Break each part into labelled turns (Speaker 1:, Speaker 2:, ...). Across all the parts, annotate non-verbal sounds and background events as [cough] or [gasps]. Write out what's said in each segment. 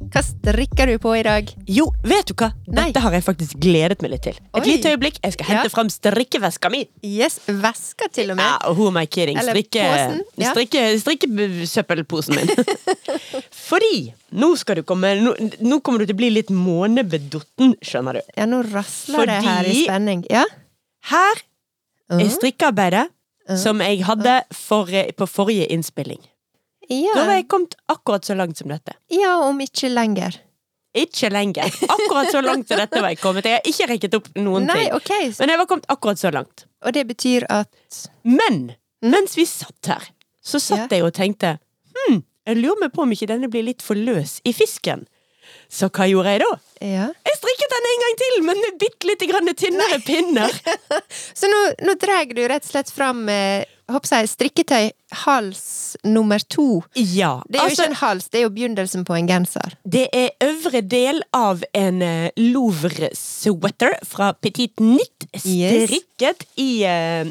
Speaker 1: hva strikker du på i dag?
Speaker 2: jo, vet du hva?
Speaker 1: Nei.
Speaker 2: Dette har jeg faktisk gledet meg litt til. Et
Speaker 1: Oi.
Speaker 2: lite øyeblikk, jeg skal hente
Speaker 1: Ja.
Speaker 2: frem strikkeveska mi.
Speaker 1: Yes, veska til og med.
Speaker 2: Ja, who am I kidding?
Speaker 1: Eller
Speaker 2: Strikke,
Speaker 1: posen, ja.
Speaker 2: strikke, strikkesøppelposen min. [laughs] Fordi, nå skal du komme, nå, nå kommer du til å bli litt månebedotten, skjønner du.
Speaker 1: Ja, nå rasler det
Speaker 2: Fordi-
Speaker 1: her i spenning. Ja.
Speaker 2: Her
Speaker 1: Mhm.
Speaker 2: er strikkearbeidet
Speaker 1: Mhm.
Speaker 2: som jeg hadde for, på forrige innspilling. Nå
Speaker 1: Ja.
Speaker 2: har jeg kommet akkurat så langt som dette.
Speaker 1: ja, om ikke lenger.
Speaker 2: Ikke lenger. Akkurat så langt til dette var jeg kommet. Jeg har ikke rekket opp noen
Speaker 1: Nei,
Speaker 2: ting.
Speaker 1: ok. så-
Speaker 2: Men jeg var kommet akkurat så langt.
Speaker 1: Og det betyr at
Speaker 2: Men mens vi satt her, så satt
Speaker 1: Mm. Ja.
Speaker 2: jeg og tenkte Hm, jeg lurer meg på om ikke denne blir litt for løs i fisken. Så hva gjorde jeg da?
Speaker 1: Ja.
Speaker 2: Jeg strikket den en gang til, men med bitte litt grann tynnere
Speaker 1: [laughs]
Speaker 2: pinner.
Speaker 1: Så nå, nå drar du rett og slett fram eh, hopp seg, strikketøy hals nummer to.
Speaker 2: Ja,
Speaker 1: Det er jo
Speaker 2: altså,
Speaker 1: ikke en hals, det er jo begynnelsen på en genser.
Speaker 2: det er øvre del av en eh, Louvre-sweater fra Petit Nitt,
Speaker 1: Yes.
Speaker 2: strikket i uh,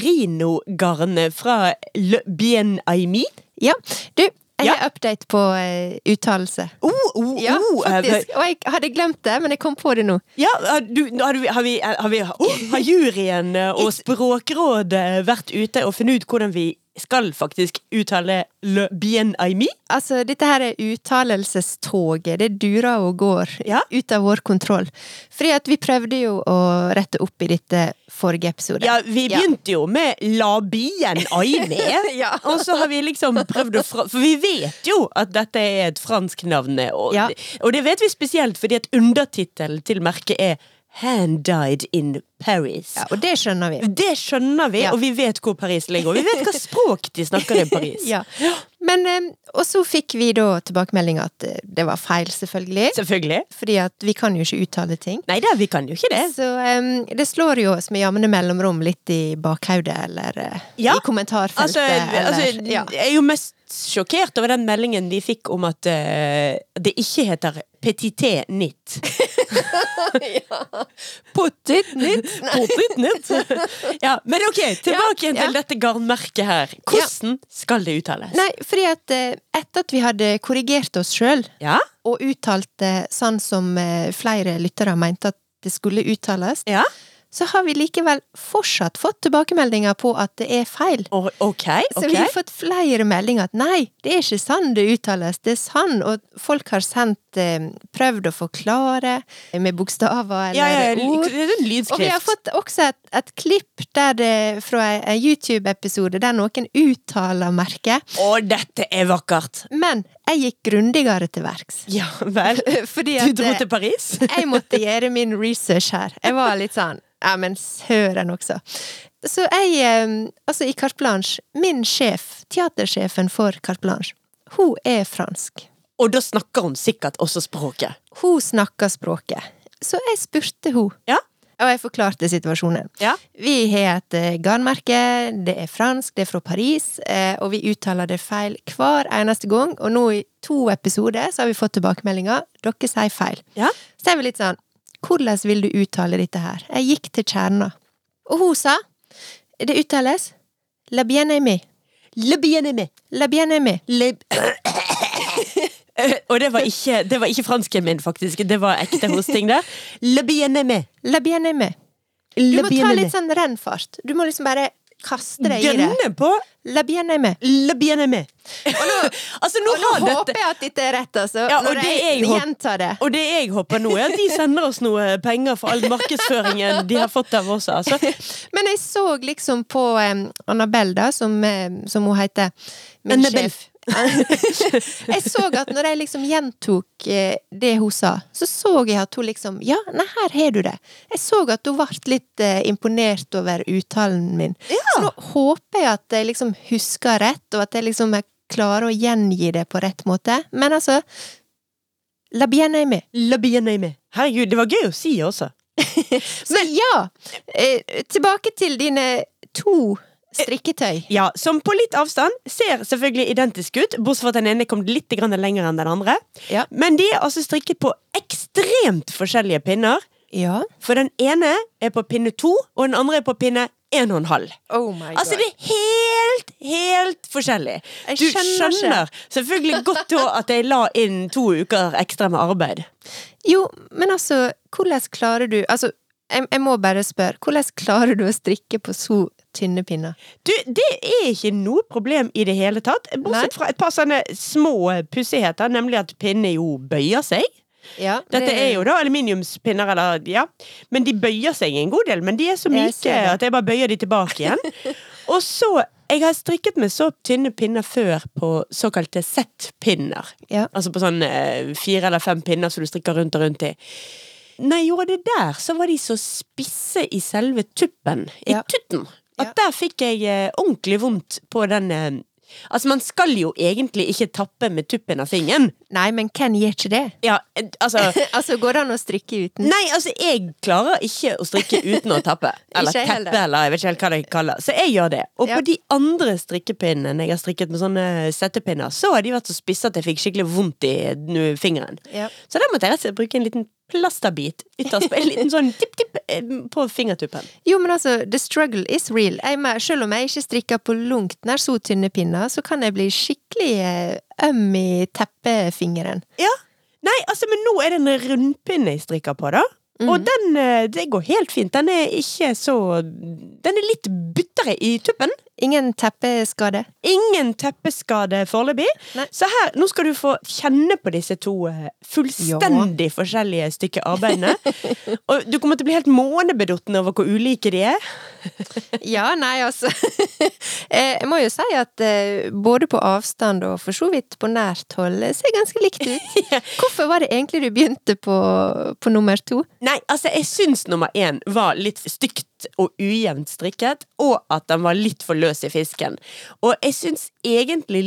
Speaker 2: Kashmerino-garnet fra Le Bien Aimi.
Speaker 1: Ja. Du, jeg
Speaker 2: Ja.
Speaker 1: har update på eh, uttalelse.
Speaker 2: Oh, oh,
Speaker 1: Ja,
Speaker 2: oh, eh,
Speaker 1: faktisk. Og jeg hadde glemt det, men jeg kom på det nå.
Speaker 2: ja, har du, har, du, har, vi, har, vi, oh, har juryen eh, og Språkrådet vært ute og funnet ut hvordan vi skal faktisk uttale Le Bien Aimi?
Speaker 1: Altså, dette her er uttalelsestoget. Det durer og går
Speaker 2: Ja.
Speaker 1: ut av vår kontroll. Fordi at vi prøvde jo å rette opp i dette forrige episode.
Speaker 2: Ja, vi
Speaker 1: Ja.
Speaker 2: begynte jo med La Bien Aimé.
Speaker 1: [laughs] Ja.
Speaker 2: Og så har vi liksom prøvd å fra... For vi vet jo at dette er et fransk navn. Og,
Speaker 1: Ja.
Speaker 2: og det vet vi spesielt fordi at undertittelen til merket er Hand died in Paris.
Speaker 1: Ja, og det skjønner vi.
Speaker 2: Det skjønner vi,
Speaker 1: Ja.
Speaker 2: og vi vet hvor Paris ligger. Og vi vet hva språk de snakker i Paris.
Speaker 1: [laughs] Ja. Men, eh, og så fikk vi da tilbakemelding at eh, det var feil, selvfølgelig.
Speaker 2: Selvfølgelig.
Speaker 1: Fordi at vi kan jo ikke uttale ting.
Speaker 2: Nei da, vi kan jo ikke det.
Speaker 1: Så eh, det slår jo oss med jamne mellomrom litt i bakhaudet, eller eh,
Speaker 2: Ja.
Speaker 1: i kommentarfeltet.
Speaker 2: Altså,
Speaker 1: eller,
Speaker 2: altså,
Speaker 1: ja.
Speaker 2: Jeg er jo mest sjokkert over den meldingen de fikk om at eh, det ikke heter Petité Nitt.
Speaker 1: Pottit nytt!
Speaker 2: Potet nytt.
Speaker 1: [laughs]
Speaker 2: ja, men ok, tilbake igjen
Speaker 1: Ja,
Speaker 2: til dette garnmerket her. Hvordan skal det uttales?
Speaker 1: [laughs] Nei, fordi at eh, etter at vi hadde korrigert oss sjøl
Speaker 2: Ja?
Speaker 1: og uttalt det sånn som eh, flere lyttere mente at det skulle uttales,
Speaker 2: ja?
Speaker 1: så har vi likevel fortsatt fått tilbakemeldinger på at det er feil.
Speaker 2: Og, ok,
Speaker 1: Så vi
Speaker 2: ok.
Speaker 1: har fått flere meldinger at nei, det er ikke sånn det uttales, det er sånn, og folk har sendt eh, prøvd å forklare med bokstaver eller
Speaker 2: Ja, ja, ja,
Speaker 1: ord.
Speaker 2: det er en
Speaker 1: Og vi har
Speaker 2: lydskrift.
Speaker 1: fått også et, et klipp der det, fra en en YouTube-episode der noen uttaler merket.
Speaker 2: Å, dette er vakkert!
Speaker 1: Men jeg gikk grundigere til verks. [laughs]
Speaker 2: Ja vel.
Speaker 1: Fordi
Speaker 2: Du
Speaker 1: at
Speaker 2: dro
Speaker 1: eh,
Speaker 2: til Paris?
Speaker 1: [laughs] jeg måtte gjøre min research her. Jeg var litt sånn Ja, men søren også. Så jeg, eh, altså i Carte Blanche, min sjef, teatersjefen for Carte Blanche, hun er fransk.
Speaker 2: Og da snakker hun sikkert også språket.
Speaker 1: Hun snakker språket. Så jeg spurte hun,
Speaker 2: Ja?
Speaker 1: og jeg forklarte situasjonen.
Speaker 2: Ja?
Speaker 1: Vi har et eh, garnmerke, det er fransk, det er fra Paris, eh, og vi uttaler det feil hver eneste gang. Og nå i to episoder så har vi fått tilbakemeldinger. Dere sier feil.
Speaker 2: Ja?
Speaker 1: Så er vi litt sånn Hvordan vil du uttale dette her? Jeg gikk til kjerna. Og hun sa Det uttales La bien aimé.
Speaker 2: Le bien aimé.
Speaker 1: La bien aimé.
Speaker 2: Le... Og det var, ikke, det var ikke fransken min, faktisk. Det var ekte hosting der. Le bien aimé.
Speaker 1: La bien aimé. Du
Speaker 2: Le
Speaker 1: må
Speaker 2: bien
Speaker 1: ta
Speaker 2: aimé.
Speaker 1: litt sånn rennfart. Du må liksom bare kaste deg i det.
Speaker 2: Gønne på
Speaker 1: La bien aimé.
Speaker 2: Le bien aimé. [laughs] altså, nå
Speaker 1: Og nå
Speaker 2: har dette
Speaker 1: håper jeg at dette er rett, altså.
Speaker 2: Ja, og
Speaker 1: når
Speaker 2: det er
Speaker 1: jeg
Speaker 2: jo-
Speaker 1: gjentar det.
Speaker 2: Og det jeg håper nå, er at de sender oss noe penger for all markedsføringen de har fått av oss. Altså.
Speaker 1: Men jeg så liksom på um, Annabelle, da, som, em, som hun heter. Min
Speaker 2: Annabelle.
Speaker 1: sjef. [laughs] jeg så at når jeg liksom gjentok eh, det hun sa, så så jeg at hun liksom Ja, nei, her har du det. Jeg så at hun ble litt eh, imponert over uttalen min. Så nå håper jeg at jeg liksom husker rett, og at jeg liksom jeg klarer å gjengi det på rett måte. Men altså La bien aimer.
Speaker 2: Le bien aimé. Herregud, det var gøy å si også.
Speaker 1: Så ja! Eh, tilbake til dine to strikketøy.
Speaker 2: Ja, Som på litt avstand ser selvfølgelig identisk ut, bortsett fra at den ene kom litt grann lenger enn den andre.
Speaker 1: Ja.
Speaker 2: Men de er altså strikket på ekstremt forskjellige pinner.
Speaker 1: Ja.
Speaker 2: For den ene er på pinne to, og den andre er på pinne en og en halv.
Speaker 1: Oh my
Speaker 2: Altså, det er helt, helt forskjellig.
Speaker 1: Jeg
Speaker 2: Du
Speaker 1: skjønner ikke.
Speaker 2: skjønner selvfølgelig godt da at jeg la inn to uker ekstra med arbeid.
Speaker 1: Jo, men altså, hvordan klarer du Altså, jeg, jeg må bare spørre. Hvordan klarer du å strikke på så tynne pinner?
Speaker 2: Du, det er ikke noe problem i det hele tatt, bortsett fra et par sånne små pussigheter, nemlig at pinne jo bøyer seg.
Speaker 1: Ja,
Speaker 2: Dette er jo da aluminiumspinner, eller ja. Men de bøyer seg en god del. Men de er så
Speaker 1: Jeg
Speaker 2: myke
Speaker 1: ser det.
Speaker 2: at jeg bare bøyer de tilbake
Speaker 1: [laughs]
Speaker 2: igjen. Og så Jeg har strikket med så tynne pinner før på såkalte Z-pinner.
Speaker 1: Ja.
Speaker 2: Altså på sånn eh, fire eller fem pinner som du strikker rundt og rundt i. Når jeg gjorde det der, så var de så spisse i selve tuppen, i
Speaker 1: Ja.
Speaker 2: tutten, at
Speaker 1: Ja.
Speaker 2: der fikk jeg eh, ordentlig vondt på den eh, Altså, man skal jo egentlig ikke tappe med tuppen av fingeren.
Speaker 1: Nei, men hvem gjør ikke det?
Speaker 2: Ja, eh,
Speaker 1: [laughs]
Speaker 2: altså
Speaker 1: altså, går det an å strikke uten?
Speaker 2: Nei, altså, jeg klarer ikke å strikke uten å tappe. Eller
Speaker 1: [laughs] Ikke jeg
Speaker 2: teppe,
Speaker 1: heller.
Speaker 2: eller jeg vet ikke helt hva det kaller. Så jeg gjør det. Og
Speaker 1: Ja.
Speaker 2: på de andre strikkepinnene jeg har strikket med sånne settepinner, så har de vært så spisse at jeg fikk skikkelig vondt i nu- fingeren.
Speaker 1: Ja.
Speaker 2: Så der måtte jeg rett og slett bruke en liten plasterbit ytterst på en liten sånn tipp-tipp eh, på fingertuppen.
Speaker 1: Jo, men altså, the struggle is real. Jeg, mer- selv om jeg ikke strikker på langt nær så tynne pinner, så kan jeg bli skikkelig eh, øm i teppefingeren.
Speaker 2: Ja. Nei, altså, men nå er det en rundpinne jeg strikker på, da.
Speaker 1: Mhm.
Speaker 2: Og den eh, det går helt fint. Den er ikke så Den er litt buttere i tuppen.
Speaker 1: Ingen teppeskade.
Speaker 2: Ingen teppeskade foreløpig.
Speaker 1: Nei.
Speaker 2: Så her, nå skal du få kjenne på disse to eh, fullstendig forskjellige stykker arbeidene. Og du kommer til å bli helt månebedotten over hvor ulike de er.
Speaker 1: Ja, nei, altså. [laughs] Eh, Jeg må jo si at eh, både på avstand og for så vidt på nært hold eh, ser ganske likt
Speaker 2: [laughs]
Speaker 1: ut. Hvorfor var det egentlig du begynte på, på nummer to?
Speaker 2: Nei, altså, jeg syns nummer én var litt stygt og ujevnt strikket, og at den var litt for løs i fisken. Og jeg syns egentlig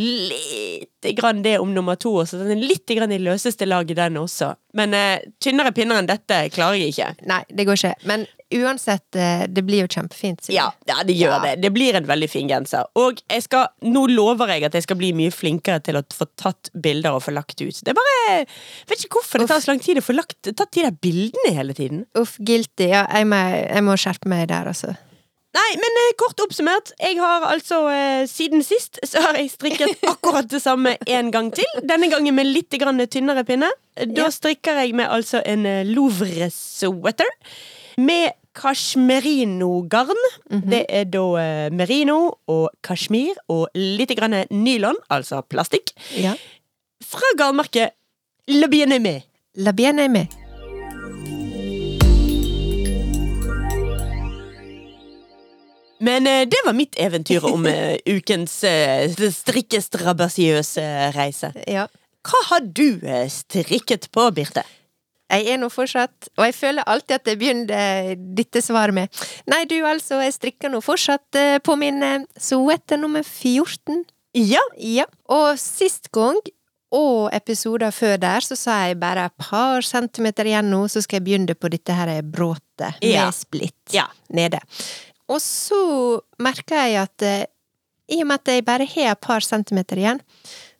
Speaker 2: lite grann det om nummer to også. Den er litt grann i løseste laget, den også. Men eh, tynnere pinner enn dette klarer jeg ikke.
Speaker 1: Nei, det går ikke. Men uansett, eh, det blir jo kjempefint. sikkert.
Speaker 2: Ja, ja, det gjør
Speaker 1: Ja.
Speaker 2: det. Det blir en veldig fin genser. Og jeg skal, nå lover jeg at jeg skal bli mye flinkere til å få tatt bilder og få lagt ut. Det er bare jeg Vet ikke hvorfor det tar så lang tid å få lagt tatt de der bildene hele tiden.
Speaker 1: Uff, guilty. Ja, jeg må, jeg må skjerpe meg der, altså.
Speaker 2: Nei, men eh, kort oppsummert. Jeg har altså eh, siden sist så har jeg strikket akkurat det samme en gang til. Denne gangen med litt grann tynnere pinne. Da
Speaker 1: Ja.
Speaker 2: strikker jeg med altså en eh, Louvre-sweater med kasjmerino-garn. Det er da eh, merino og kasjmir og litt grann nylon, altså plastikk,
Speaker 1: Ja.
Speaker 2: fra garnmerket Le Bien-Aimé.
Speaker 1: La bien aimer.
Speaker 2: Men eh, det var mitt eventyr om eh, ukens eh, strikkestrabasiøse reise.
Speaker 1: Ja.
Speaker 2: Hva har du eh, strikket på, Birte?
Speaker 1: Jeg er nå fortsatt, og jeg føler alltid at jeg begynner eh, dette svaret med Nei, du altså, jeg strikker nå fortsatt eh, på min eh, sweater nummer 14.
Speaker 2: Ja,
Speaker 1: Ja. Og sist gang, og episoder før der, så sa jeg bare et par centimeter igjen nå, så skal jeg begynne på dette her bråtet med
Speaker 2: Ja.
Speaker 1: splitt
Speaker 2: Ja.
Speaker 1: nede. Og så merker jeg at eh, i og med at jeg bare har et par centimeter igjen,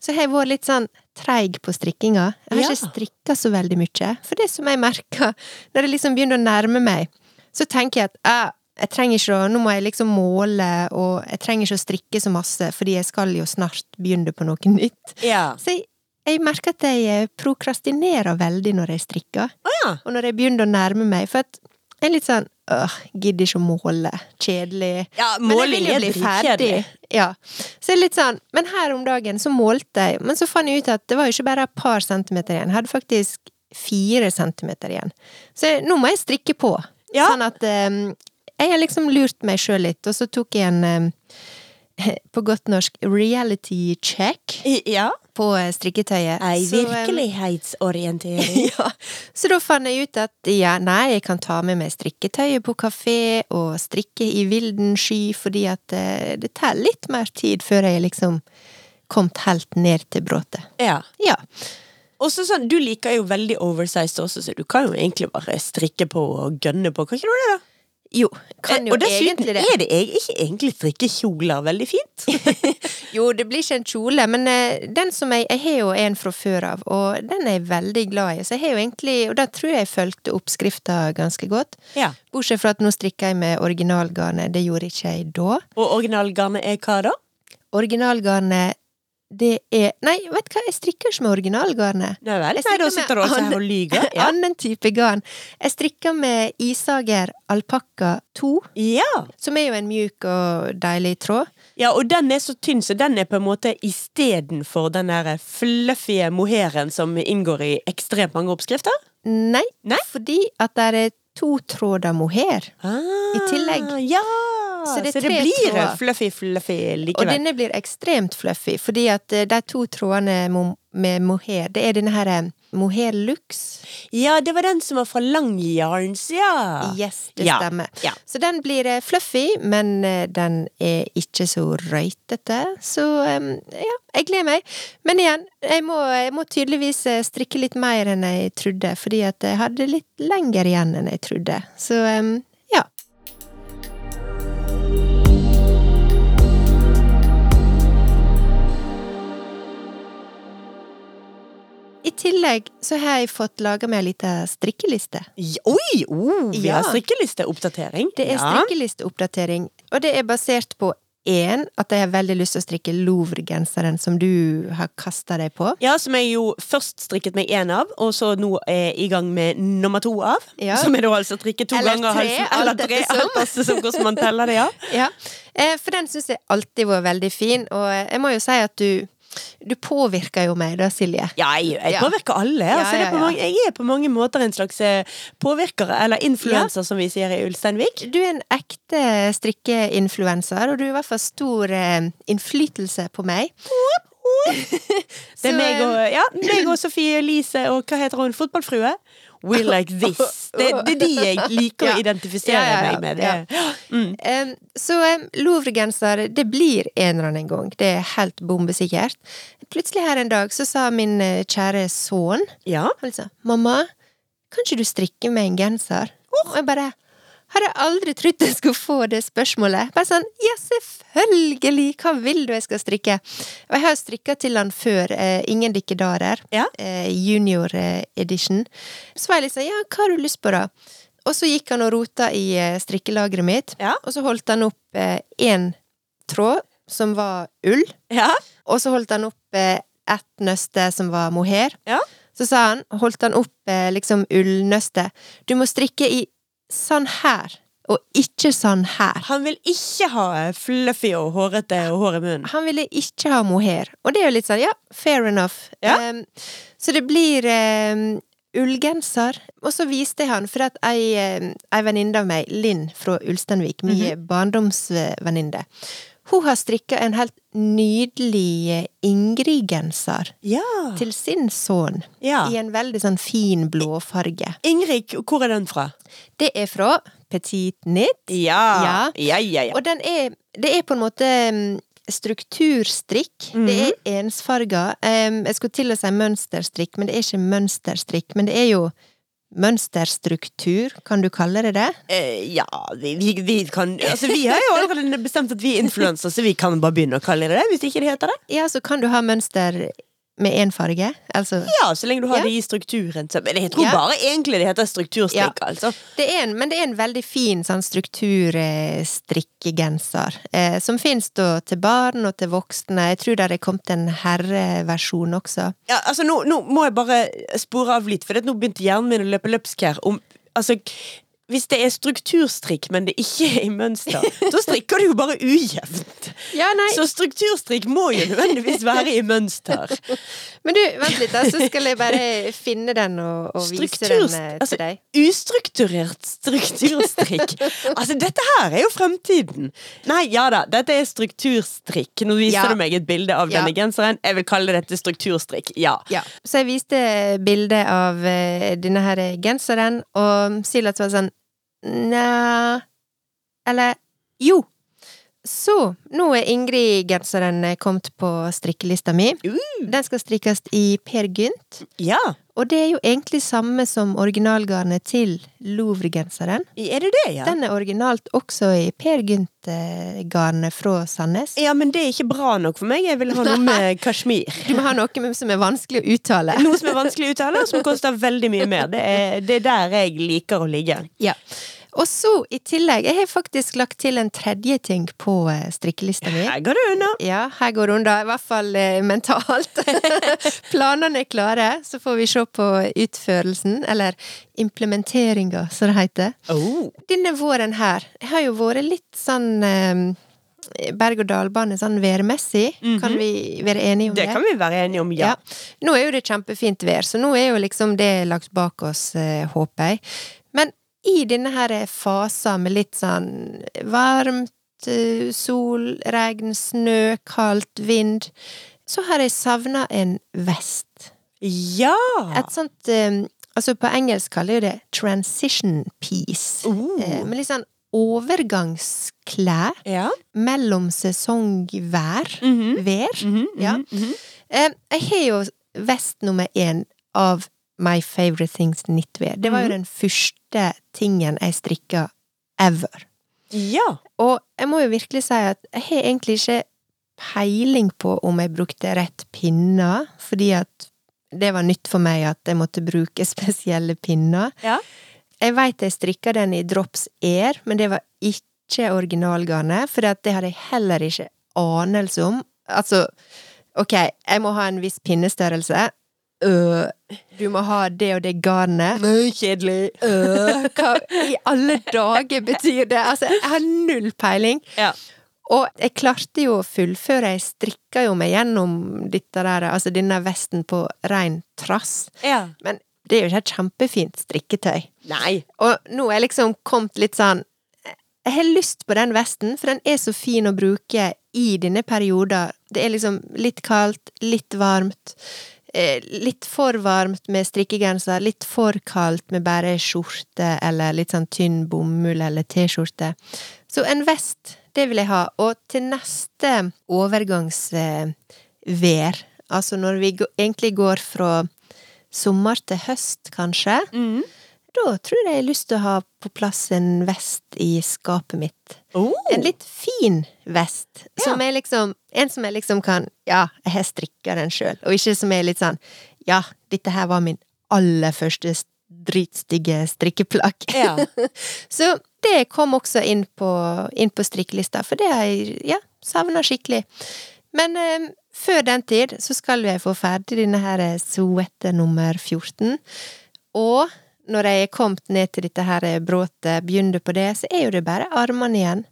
Speaker 1: så har jeg vært litt sånn treig på strikkinga. Jeg har
Speaker 2: Ja.
Speaker 1: ikke strikka så veldig mye. For det som jeg merker, [laughs] når jeg liksom begynner å nærme meg, så tenker jeg at «Ah, jeg trenger ikke å, nå må jeg liksom måle, og jeg trenger ikke å strikke så masse, fordi jeg skal jo snart begynne på noe nytt.
Speaker 2: ja.
Speaker 1: Så jeg, jeg merker at jeg eh, prokrastinerer veldig når jeg strikker.
Speaker 2: Å ja.
Speaker 1: Og når jeg begynner å nærme meg, for at jeg er litt sånn åh, gidder ikke å måle. Kjedelig.
Speaker 2: ja
Speaker 1: Men jeg vil
Speaker 2: måling
Speaker 1: jo
Speaker 2: er
Speaker 1: bli ferdig.
Speaker 2: dritkjedelig.
Speaker 1: Ja. Så det er litt sånn, men her om dagen så målte jeg, men så fant jeg ut at det var jo ikke bare et par centimeter igjen. Jeg hadde faktisk fire centimeter igjen. Så jeg- nå må jeg strikke på.
Speaker 2: Ja.
Speaker 1: Sånn at eh, jeg har liksom lurt meg sjøl litt, og så tok jeg en eh, [laughs] på godt norsk reality check
Speaker 2: I- Ja.
Speaker 1: på eh, strikketøyet.
Speaker 2: Ei
Speaker 1: Så, eh,
Speaker 2: [laughs] virkelighetsorientering.
Speaker 1: ja. Så da fant jeg ut at ja, nei, jeg kan ta med meg strikketøyet på kafé og strikke i vilden sky, fordi at eh, det tar litt mer tid før jeg liksom kommet helt ned til bråtet.
Speaker 2: Ja.
Speaker 1: Ja.
Speaker 2: Også sånn, du liker jo veldig oversized også, så du kan jo egentlig bare strikke på og gønne på. Kan ikke du det, da?
Speaker 1: Jo, kan jo
Speaker 2: Eh, og dessuten
Speaker 1: egentlig det.
Speaker 2: er det eg- ikke egentlig strikkekjoler veldig fint.
Speaker 1: Jo, det blir ikke en kjole, men eh, den som jeg Jeg har jo en fra før av, og den er jeg veldig glad i. Så jeg har jo egentlig Og da tror jeg jeg fulgte oppskrifta ganske godt.
Speaker 2: [laughs] ja.
Speaker 1: Bortsett fra at nå strikker jeg med originalgarnet. Det gjorde ikke jeg da.
Speaker 2: Og originalgarnet er hva da?
Speaker 1: Originalgarnet, det er Nei, vet du hva, jeg strikker ikke med originalgarnet.
Speaker 2: Nei vel,
Speaker 1: Jeg
Speaker 2: nei, da
Speaker 1: strikker
Speaker 2: sitter du
Speaker 1: med
Speaker 2: altså
Speaker 1: an-
Speaker 2: her og [laughs] lyver. Ja.
Speaker 1: Annen type garn. Jeg strikker med isager alpakka 2,
Speaker 2: ja.
Speaker 1: som er jo en mjuk og deilig tråd.
Speaker 2: ja, og den er så tynn, så den er på en måte istedenfor den der fluffy moheren som inngår i ekstremt mange oppskrifter.
Speaker 1: Nei,
Speaker 2: Nei?
Speaker 1: fordi at det er to tråder mohair.
Speaker 2: Ah,
Speaker 1: I tillegg.
Speaker 2: Ja!
Speaker 1: Så
Speaker 2: Så
Speaker 1: det
Speaker 2: det,
Speaker 1: er tre
Speaker 2: blir
Speaker 1: tråder.
Speaker 2: fluffy, fluffy
Speaker 1: Og
Speaker 2: likevel.
Speaker 1: denne blir ekstremt fluffy, fordi at eh, de to trådene mo- med mohair, det er denne her eh, mohair lux.
Speaker 2: Ja, det var den som var fra Langyarns, ja.
Speaker 1: Yes, det
Speaker 2: Ja,
Speaker 1: stemmer.
Speaker 2: ja.
Speaker 1: Så den blir eh, fluffy, men eh, den er ikke så røytete. Så eh, ja, jeg gleder meg. Men igjen, jeg må, jeg må tydeligvis eh, strikke litt mer enn jeg trodde, fordi at jeg hadde litt lenger igjen enn jeg trodde. Så eh, ja. I tillegg så har jeg fått laga meg ei lita strikkeliste.
Speaker 2: Ja, Oi! Oh, vi
Speaker 1: Ja.
Speaker 2: har strikkelisteoppdatering.
Speaker 1: Det er
Speaker 2: ja.
Speaker 1: strikkelisteoppdatering, og det er basert på én, at jeg har veldig lyst til å strikke Louvre-genseren som du har kasta deg på.
Speaker 2: ja, som jeg jo først strikket meg én av, og så nå er i gang med nummer to av.
Speaker 1: Ja.
Speaker 2: Som er da altså strikke to
Speaker 1: Eller
Speaker 2: ganger
Speaker 1: tre,
Speaker 2: halsen.
Speaker 1: alt
Speaker 2: Eller tre,
Speaker 1: ettersom.
Speaker 2: alt etter som hvordan man teller det, ja.
Speaker 1: Ja, eh, For den syns jeg alltid var veldig fin, og eh, jeg må jo si at du, du påvirker jo meg da, Silje.
Speaker 2: Ja, jeg, jeg
Speaker 1: Ja.
Speaker 2: påvirker alle.
Speaker 1: Ja,
Speaker 2: Altså, det er på
Speaker 1: ja, ja.
Speaker 2: mange, jeg er på mange måter en slags eh, påvirker, eller influenser, som vi sier i Ulsteinvik.
Speaker 1: Du er en ekte strikkeinfluenser, og du har i hvert fall stor eh, innflytelse på meg. [laughs]
Speaker 2: Det er
Speaker 1: Så, eh,
Speaker 2: meg og, ja, meg og Sofie Elise og hva heter hun, fotballfrue? We like
Speaker 1: [laughs]
Speaker 2: this. Det, det er de jeg liker
Speaker 1: Ja.
Speaker 2: å identifisere
Speaker 1: Ja, ja, ja.
Speaker 2: meg med. Det. [gasps] Mm.
Speaker 1: Em, Så um, Louvre-genser, det blir en eller annen gang. Det er helt bombesikkert. Plutselig her en dag så sa min eh, kjære sønn
Speaker 2: Ja.
Speaker 1: han liksom 'Mamma, kan ikke du strikke meg en genser?' Og jeg bare hadde aldri trodd jeg skulle få det spørsmålet. Bare sånn 'Ja, selvfølgelig! Hva vil du jeg skal strikke?' Og jeg har strikka til han før. Eh, ingen dikkedarer.
Speaker 2: Ja.
Speaker 1: Eh, junior eh, edition. Så var jeg liksom 'Ja, hva har du lyst på, da?' Og så gikk han og rota i eh, strikkelageret mitt,
Speaker 2: Ja.
Speaker 1: og så holdt han opp én tråd som var ull.
Speaker 2: ja.
Speaker 1: Og så holdt han opp eh, ett nøste som var mohair.
Speaker 2: Ja.
Speaker 1: Så sa han, holdt han opp eh, liksom ullnøste. Du må strikke i sånn her, og ikke sånn her.
Speaker 2: Han vil ikke ha eh, fluffy og hårete og hår i munnen.
Speaker 1: Han ville ikke ha mohair. Og det er jo litt sånn, ja, fair enough.
Speaker 2: Ja.
Speaker 1: Em, så det blir em, ullgenser. Og så viste jeg han, for at ei, em, ei venninne av meg, Linn fra Ulsteinvik, min
Speaker 2: Mhm.
Speaker 1: barndomsvenninne, hun har strikka en helt nydelig eh, Ingrid-genser.
Speaker 2: Ja.
Speaker 1: til sin sønn
Speaker 2: ja.
Speaker 1: i en veldig sånn fin blåfarge.
Speaker 2: Ingrid, hvor er den fra?
Speaker 1: Det er fra Petit Knit,
Speaker 2: Ja. Ja, ja, ja.
Speaker 1: og den er, det er på en måte mm, strukturstrikk.
Speaker 2: Mhm.
Speaker 1: Det er ensfarga. Em, jeg skulle til å si mønsterstrikk, men det er ikke mønsterstrikk. Men det er jo mønsterstruktur, kan du kalle det det?
Speaker 2: Eh, ja, vi, vi, vi kan Altså, vi har jo allerede bestemt at vi er influensere, så vi kan bare begynne å kalle det det, hvis ikke det heter det.
Speaker 1: Ja, så kan du ha mønster med én farge. Altså
Speaker 2: Ja, så lenge du har
Speaker 1: Ja.
Speaker 2: det i strukturen. Så, men jeg tror
Speaker 1: Ja.
Speaker 2: bare egentlig det heter strukturstrikk, altså.
Speaker 1: Det er en, men det er en veldig fin sånn strukturstrikkegenser, eh, som fins da til barn og til voksne. Jeg tror det er kommet en herreversjon også.
Speaker 2: Ja, altså nå, nå må jeg bare spore av litt, for det at nå begynte hjernen min å løpe løpsk her. Om, altså, hvis det er strukturstrikk, men det ikke er i
Speaker 1: [laughs]
Speaker 2: mønster, så strikker du jo bare ujevnt.
Speaker 1: Ja, nei.
Speaker 2: Så strukturstrikk må jo nødvendigvis være i mønster.
Speaker 1: Men du, vent litt, da, så skal jeg bare finne den og, og vise den
Speaker 2: Strukturst-
Speaker 1: eh,
Speaker 2: altså,
Speaker 1: til deg.
Speaker 2: Ustrukturert
Speaker 1: [laughs]
Speaker 2: strukturstrikk. Altså, dette her er jo fremtiden! Nei, ja da, dette er strukturstrikk. Nå viser
Speaker 1: Ja.
Speaker 2: du meg et bilde av
Speaker 1: Ja.
Speaker 2: denne genseren. Jeg vil kalle dette strukturstrikk, ja.
Speaker 1: Ja. Så jeg viste bilde av eh, denne her genseren, og Silas var sånn Nja Eller jo! Så, nå er Ingrid-genseren eh, kommet på strikkelista mi.
Speaker 2: Uh,
Speaker 1: Den skal strikkes i Per Gynt,
Speaker 2: ja,
Speaker 1: og det er jo egentlig samme som originalgarnet til Louvre-genseren.
Speaker 2: er det det, ja?
Speaker 1: Den er originalt også i Per Gynt-garnet fra Sandnes.
Speaker 2: Ja, men det er ikke bra nok for meg. Jeg vil ha noe
Speaker 1: [laughs]
Speaker 2: med kasjmir.
Speaker 1: Du må ha noe med- som er vanskelig å uttale.
Speaker 2: Noe som er vanskelig å uttale, og som koster veldig mye mer. Det er, det er der jeg liker å ligge.
Speaker 1: Ja. Og så, i tillegg, jeg har faktisk lagt til en tredje ting på eh, strikkelista mi.
Speaker 2: Her går det unna.
Speaker 1: Ja, her går det unna, i hvert fall eh, mentalt. Planene er klare, så får vi se på utførelsen, eller implementeringa, som det heter.
Speaker 2: Oh.
Speaker 1: Denne våren her jeg har jo vært litt sånn eh, berg-og-dal-bane sånn værmessig. Kan vi være enige om det?
Speaker 2: Det kan vi være enige om, ja.
Speaker 1: Ja. Nå er jo det kjempefint vær, så nå er jo liksom det lagt bak oss, eh, håper jeg. Men i denne her fasen med litt sånn varmt, eh, sol, regn, snø, kaldt, vind, så har jeg savna en vest.
Speaker 2: Ja!
Speaker 1: Et sånt eh, Altså, på engelsk kaller jeg det transition piece. Eh,
Speaker 2: Oh.
Speaker 1: Med litt sånn overgangsklær
Speaker 2: Ja.
Speaker 1: mellom sesongvær.
Speaker 2: Mhm,
Speaker 1: Vær.
Speaker 2: mhm,
Speaker 1: Ja.
Speaker 2: mhm, mhm.
Speaker 1: Eh, jeg har jo vest nummer én av My Favorite Things Knitwear. Det var jo
Speaker 2: Mhm.
Speaker 1: den første tingen jeg strikka ever.
Speaker 2: Ja.
Speaker 1: Og jeg må jo virkelig si at jeg har egentlig ikke peiling på om jeg brukte rett pinner, fordi at det var nytt for meg at jeg måtte bruke [laughs] spesielle pinner.
Speaker 2: Ja.
Speaker 1: Jeg veit jeg strikka den i drops air, men det var ikke originalgarnet, for det hadde jeg heller ikke anelse om. Altså, ok, jeg må ha en viss pinnestørrelse. Øh, du må ha det og det garnet.
Speaker 2: Nei, kjedelig.
Speaker 1: Øh, hva i alle dager betyr det? Altså, jeg har null peiling.
Speaker 2: Ja.
Speaker 1: Og jeg klarte jo å fullføre, jeg strikka jo meg gjennom dette der, altså denne vesten på rein trass.
Speaker 2: ja.
Speaker 1: Men det er jo ikke et kjempefint strikketøy.
Speaker 2: Nei.
Speaker 1: Og nå er jeg liksom kommet litt sånn Jeg har lyst på den vesten, for den er så fin å bruke i denne perioden. Det er liksom litt kaldt, litt varmt. eh, Litt for varmt med strikkegenser, litt for kaldt med bare skjorte eller litt sånn tynn bomull eller T-skjorte. Så en vest, det vil jeg ha. Og til neste overgangsvær, altså når vi gå- egentlig går fra sommer til høst, kanskje,
Speaker 2: Mm.
Speaker 1: da tror jeg jeg har lyst til å ha på plass en vest i skapet mitt.
Speaker 2: Oh.
Speaker 1: En litt fin vest.
Speaker 2: Ja.
Speaker 1: Som er liksom, en som jeg liksom kan Ja, jeg har strikka den sjøl. Og ikke som er litt sånn Ja, dette her var min aller første s- dritstygge strikkeplagg.
Speaker 2: Ja.
Speaker 1: Så det kom også inn på, inn på strikkelista, for det har jeg ja, savna skikkelig. Men eh, før den tid så skal jeg få ferdig denne her eh, soete nummer 14. Og når jeg er kommet ned til dette her eh, bråtet, begynner på det, så er jo det bare armene igjen.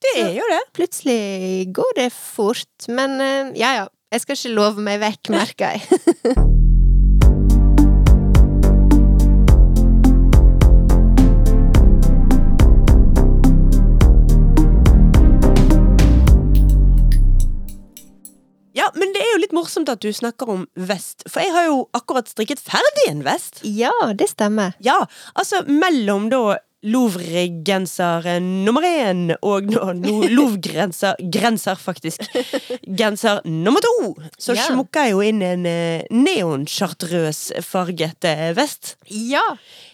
Speaker 2: Det er jo det.
Speaker 1: Plutselig går det fort, men eh, ja ja. Jeg skal ikke love meg vekk, merker jeg.
Speaker 2: Ja, Men det er jo litt morsomt at du snakker om vest, for jeg har jo akkurat strikket ferdig en vest.
Speaker 1: Ja, det stemmer.
Speaker 2: Ja, altså mellom da Louvre-genser nummer én og nå no, Louvre-grenser Grenser, faktisk. Genser nummer to! Så
Speaker 1: Ja.
Speaker 2: smukker jeg jo inn en eh, neonchartreuse-farget eh, vest.
Speaker 1: Ja!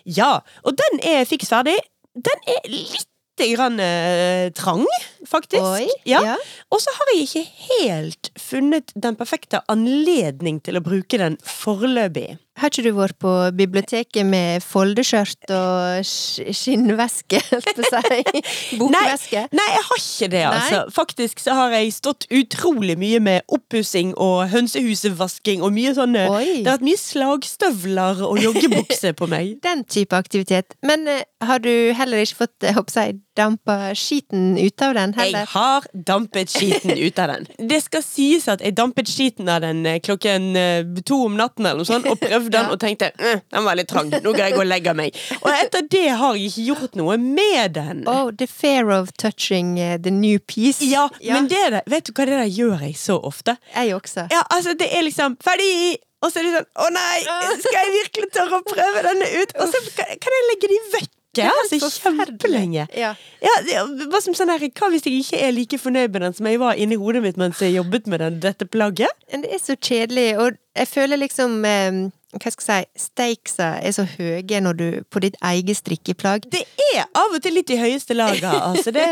Speaker 2: Ja, og den er fiks ferdig. Den er litt grann eh, trang, faktisk.
Speaker 1: Oi.
Speaker 2: ja.
Speaker 1: ja.
Speaker 2: Og så har jeg ikke helt funnet den perfekte anledning til å bruke den foreløpig.
Speaker 1: Har ikke du vært på biblioteket med foldeskjørt og sk- skinnveske, [laughs] holdt på å
Speaker 2: [laughs]
Speaker 1: si? Bokveske?
Speaker 2: Nei, jeg har ikke det, altså. Faktisk så har jeg stått utrolig mye med oppussing og hønsehusvasking og mye sånne Det
Speaker 1: Oi.
Speaker 2: har vært mye slagstøvler og joggebukse på meg.
Speaker 1: Den type aktivitet. Men eh, har du heller ikke fått eh, håper jeg, dampa skiten ut av den,
Speaker 2: Jeg
Speaker 1: heller?
Speaker 2: har dampet [laughs] skiten ut av den. Det skal sies at jeg dampet skiten av den eh, klokken eh, to om natten eller noe sånt, og prøvde [laughs] den
Speaker 1: Ja.
Speaker 2: og tenkte "Eh, den var litt trang, nå kan jeg gå og legge meg. Og etter det har jeg ikke gjort noe med den.
Speaker 1: Oh, the fear of touching eh, the new piece.
Speaker 2: Ja, men det der, vet du hva det der gjør jeg så ofte?
Speaker 1: Jeg også.
Speaker 2: Ja, altså det er liksom ferdig Og så er det sånn, å nei, skal jeg virkelig tørre å prøve denne ut? Og så kan, kan jeg legge de vekk uke! Altså kjempelenge.
Speaker 1: Ja.
Speaker 2: Ja, det var som sånn her, Hva hvis jeg ikke er like fornøyd med den som jeg var inni hodet mitt mens jeg jobbet med den, dette plagget?
Speaker 1: Men Det er så kjedelig, og jeg føler liksom eh, Hva skal jeg si Stakesa er så høye når du på ditt eget strikkeplagg.
Speaker 2: Det er av og til litt i høyeste laget. Altså det,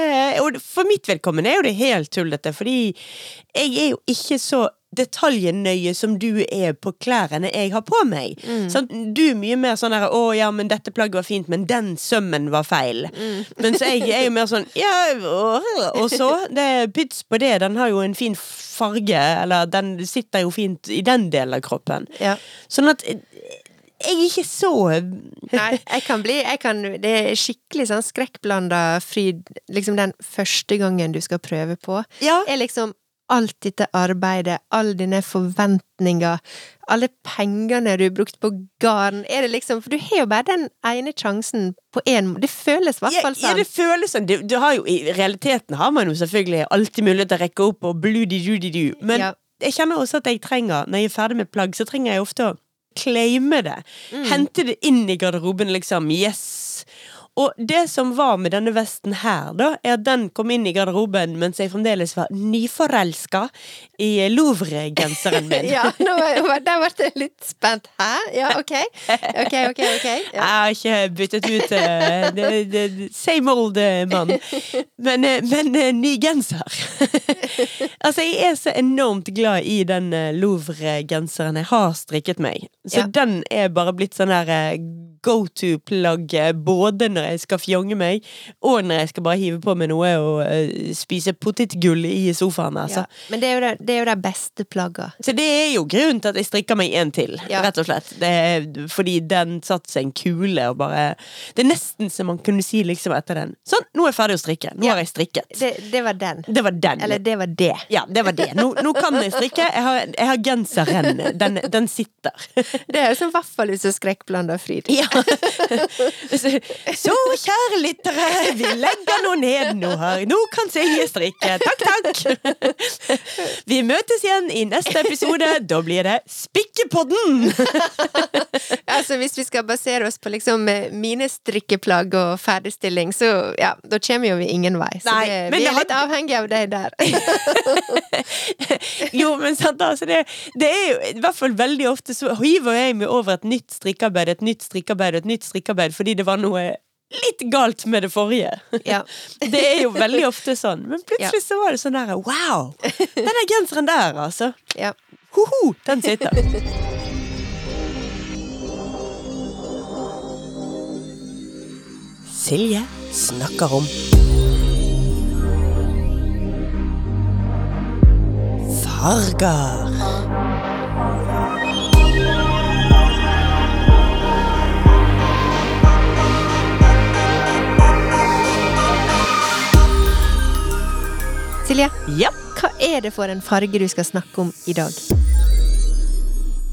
Speaker 2: og for mitt vedkommende er jo det helt tullete, fordi jeg er jo ikke så detaljnøye som du er på klærne jeg har på meg. Sant? du er mye mer sånn her 'Å ja, men dette plagget var fint, men den sømmen var feil'. Mens jeg er jo mer sånn 'Ja, og- og så?' Det er pyts på det. Den har jo en fin farge, eller den sitter jo fint i den delen av kroppen.
Speaker 1: Ja.
Speaker 2: Sånn at eh, jeg er ikke så
Speaker 1: Nei, [laughs] jeg kan bli jeg kan, Det er skikkelig sånn skrekkblanda fryd liksom den første gangen du skal prøve på.
Speaker 2: Ja.
Speaker 1: er liksom alt dette arbeidet, alle dine forventninger, alle pengene du har brukt på garn Er det liksom For du har jo bare den ene sjansen på én Det føles i hvert fall
Speaker 2: Ja, ja,
Speaker 1: sånn.
Speaker 2: det føles sånn. Du, du har jo, I realiteten har man jo selvfølgelig alltid mulighet til å rekke opp og bloody-doody-doo, men
Speaker 1: Ja.
Speaker 2: jeg kjenner også at jeg trenger, når jeg er ferdig med plagg, så trenger jeg ofte å claime det.
Speaker 1: Mm.
Speaker 2: Hente det inn i garderoben, liksom. Yes! Og det som var med denne vesten her, da, er at den kom inn i garderoben mens jeg fremdeles var nyforelska i Louvre-genseren
Speaker 1: [laughs]
Speaker 2: min.
Speaker 1: Ja, nå var, der ble jeg litt spent. Hæ? Ja, ok. Ok, ok, ok. [laughs]
Speaker 2: Jeg
Speaker 1: Ja.
Speaker 2: har ikke byttet ut eh, det- det- Same old eh, mann. Men, eh, men eh, ny genser. [laughs] altså, jeg er så enormt glad i den eh, Louvre-genseren jeg har strikket meg. Så
Speaker 1: Ja.
Speaker 2: den er bare blitt sånn her eh, go to-plagg eh, både når jeg skal fjonge meg, og når jeg skal bare hive på meg noe og eh, spise potetgull i sofaen. Altså.
Speaker 1: Ja. Men det er jo det, det, er jo de beste plagga.
Speaker 2: Så det er jo grunnen til at jeg strikker meg en til,
Speaker 1: Ja.
Speaker 2: rett og slett. Det er, fordi den satte seg en kule og bare Det er nesten som man kunne si liksom etter den. Sånn, nå er jeg ferdig å strikke. Nå
Speaker 1: Ja.
Speaker 2: har jeg strikket.
Speaker 1: Det, det var den.
Speaker 2: Det var den.
Speaker 1: Eller det var det.
Speaker 2: Ja, det var det. Nå, nå kan jeg strikke. Jeg har, jeg har genseren. Den, den
Speaker 1: [laughs]
Speaker 2: sitter.
Speaker 1: Det er jo som vaffel hvis du skrekkblanda fryd.
Speaker 2: Ja. Så, så kjære lyttere, vi legger nå ned noe her. Nå kan Silje strikke. Takk, takk.
Speaker 1: [laughs]
Speaker 2: Vi møtes igjen i neste episode. Da blir det Spikkepodden!
Speaker 1: Altså, hvis vi skal basere oss på liksom eh, mine strikkeplagg og ferdigstilling, så ja, da kommer jo vi ingen vei. Så
Speaker 2: Nei,
Speaker 1: det,
Speaker 2: men
Speaker 1: vi
Speaker 2: det
Speaker 1: er litt
Speaker 2: hadde-
Speaker 1: avhengig av deg der.
Speaker 2: Jo, men sant, altså det, det er jo i hvert fall veldig ofte så hiver jeg meg over et nytt strikkearbeid, et nytt strikkearbeid og et nytt strikkearbeid fordi det var noe litt galt med det forrige.
Speaker 1: [laughs] ja.
Speaker 2: Det er jo veldig ofte sånn. Men plutselig så var det sånn der wow! Den der genseren der, altså.
Speaker 1: ja.
Speaker 2: Hoho, den sitter. Silje snakker om farger.
Speaker 1: Silje,
Speaker 2: Ja.
Speaker 1: hva er det for en farge du skal snakke om i dag?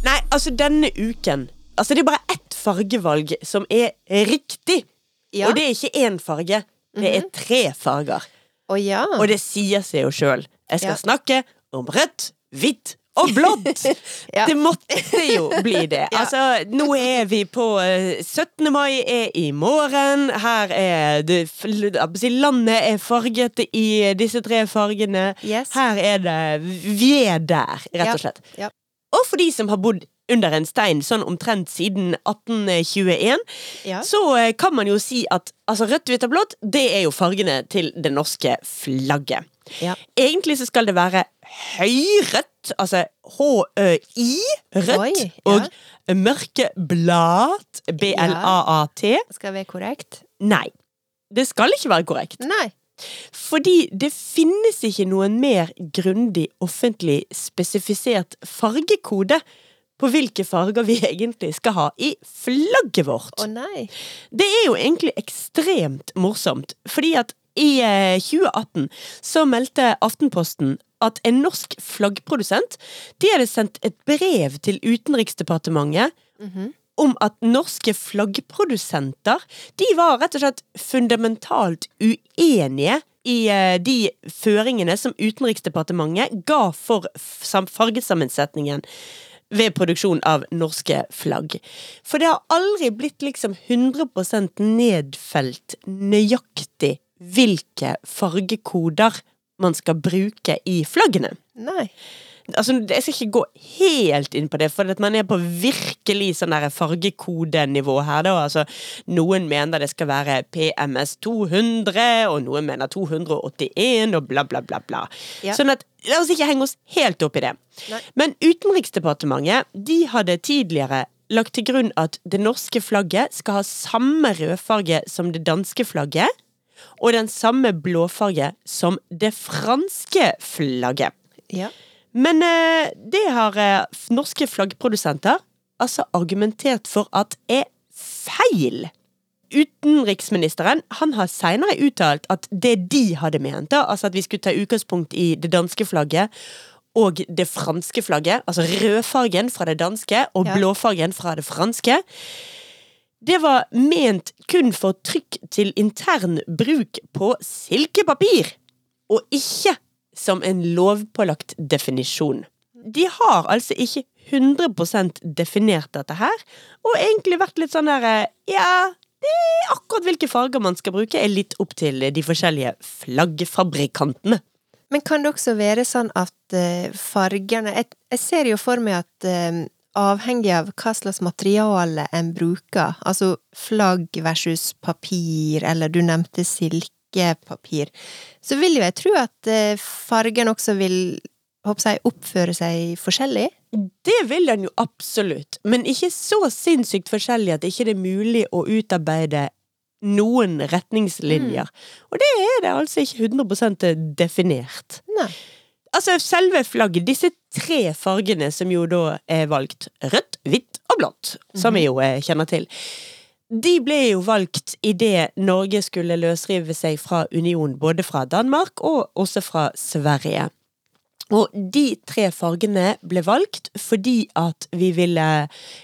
Speaker 2: Nei, altså denne uken Altså Det er bare ett fargevalg som er riktig.
Speaker 1: Ja.
Speaker 2: Og det er ikke én farge. Det er tre farger.
Speaker 1: Å ja.
Speaker 2: Og det sier seg jo sjøl. Jeg skal
Speaker 1: Ja.
Speaker 2: snakke om rødt, hvitt og blått!
Speaker 1: [laughs] Ja.
Speaker 2: Det måtte jo bli det.
Speaker 1: [laughs] Ja.
Speaker 2: Altså, nå er vi på eh, 17. mai er i morgen. Her er det fl- jeg vil si, Landet er farget i disse tre fargene.
Speaker 1: Yes.
Speaker 2: Her er det Vi er der, rett og slett.
Speaker 1: Ja.
Speaker 2: Og for de som har bodd under en stein sånn omtrent siden 1821,
Speaker 1: Ja.
Speaker 2: så eh, kan man jo si at altså, rødt, hvitt og blått, det er jo fargene til det norske flagget.
Speaker 1: Ja.
Speaker 2: Egentlig så skal det være høyrødt, altså H-Ø-I, rødt,
Speaker 1: Oi, ja.
Speaker 2: og mørkeblat, B-L-A-A-T.
Speaker 1: Skal være korrekt?
Speaker 2: Nei. Det skal ikke være korrekt.
Speaker 1: Nei.
Speaker 2: Fordi det finnes ikke noen mer grundig offentlig spesifisert fargekode på hvilke farger vi [laughs] egentlig skal ha i flagget
Speaker 1: Å
Speaker 2: vårt.
Speaker 1: nei.
Speaker 2: Det er jo egentlig ekstremt morsomt, fordi at i eh, 2018 så meldte Aftenposten at en norsk flaggprodusent de hadde sendt et brev til Utenriksdepartementet om at norske flaggprodusenter de var rett og slett fundamentalt uenige i eh, de føringene som Utenriksdepartementet ga for f- sam- fargesammensetningen ved produksjon av norske flagg. For det har aldri blitt liksom 100 nedfelt nøyaktig hvilke fargekoder man skal bruke i flaggene.
Speaker 1: Nei.
Speaker 2: Altså, jeg skal ikke gå helt inn på det, for at man er på virkelig sånn der fargekodenivå her. Da. Altså, noen mener det skal være PMS 200, og noen mener 281, og bla, bla, bla. bla.
Speaker 1: Ja.
Speaker 2: Sånn at, La oss ikke henge oss helt opp i det.
Speaker 1: Nei.
Speaker 2: Men Utenriksdepartementet de hadde tidligere lagt til grunn at det norske flagget skal ha samme rødfarge som det danske flagget, og den samme blåfarge som det franske flagget.
Speaker 1: Ja.
Speaker 2: Men eh, det har eh, f- norske flaggprodusenter altså argumentert for at er feil. Utenriksministeren han har senere uttalt at det de hadde ment, da, altså at vi skulle ta utgangspunkt i det danske flagget og det franske flagget, altså rødfargen fra det danske og
Speaker 1: Ja.
Speaker 2: blåfargen fra det franske, det var ment kun for trykk til intern bruk på silkepapir, og ikke som en lovpålagt definisjon. De har altså ikke 100 definert dette her, og egentlig vært litt sånn derre Ja, det er akkurat hvilke farger man skal bruke, er litt opp til de forskjellige flaggfabrikantene.
Speaker 1: Men kan det også være sånn at eh, fargene jeg, jeg ser jo for meg at eh, avhengig av hva slags materiale en bruker, altså flagg versus papir, eller du nevnte silkepapir, så vil jo jeg tro at eh, fargen også vil håper jeg, oppføre seg forskjellig.
Speaker 2: Det vil den jo absolutt, men ikke så sinnssykt forskjellig at ikke det er mulig å utarbeide noen retningslinjer. Og det er det altså ikke 100 definert.
Speaker 1: Nei.
Speaker 2: Altså, selve flagget, disse tre fargene som jo da er valgt rødt, hvitt og blått, som vi jo eh, kjenner til, de ble jo valgt idet Norge skulle løsrive seg fra union, både fra Danmark og også fra Sverige. Og de tre fargene ble valgt fordi at vi ville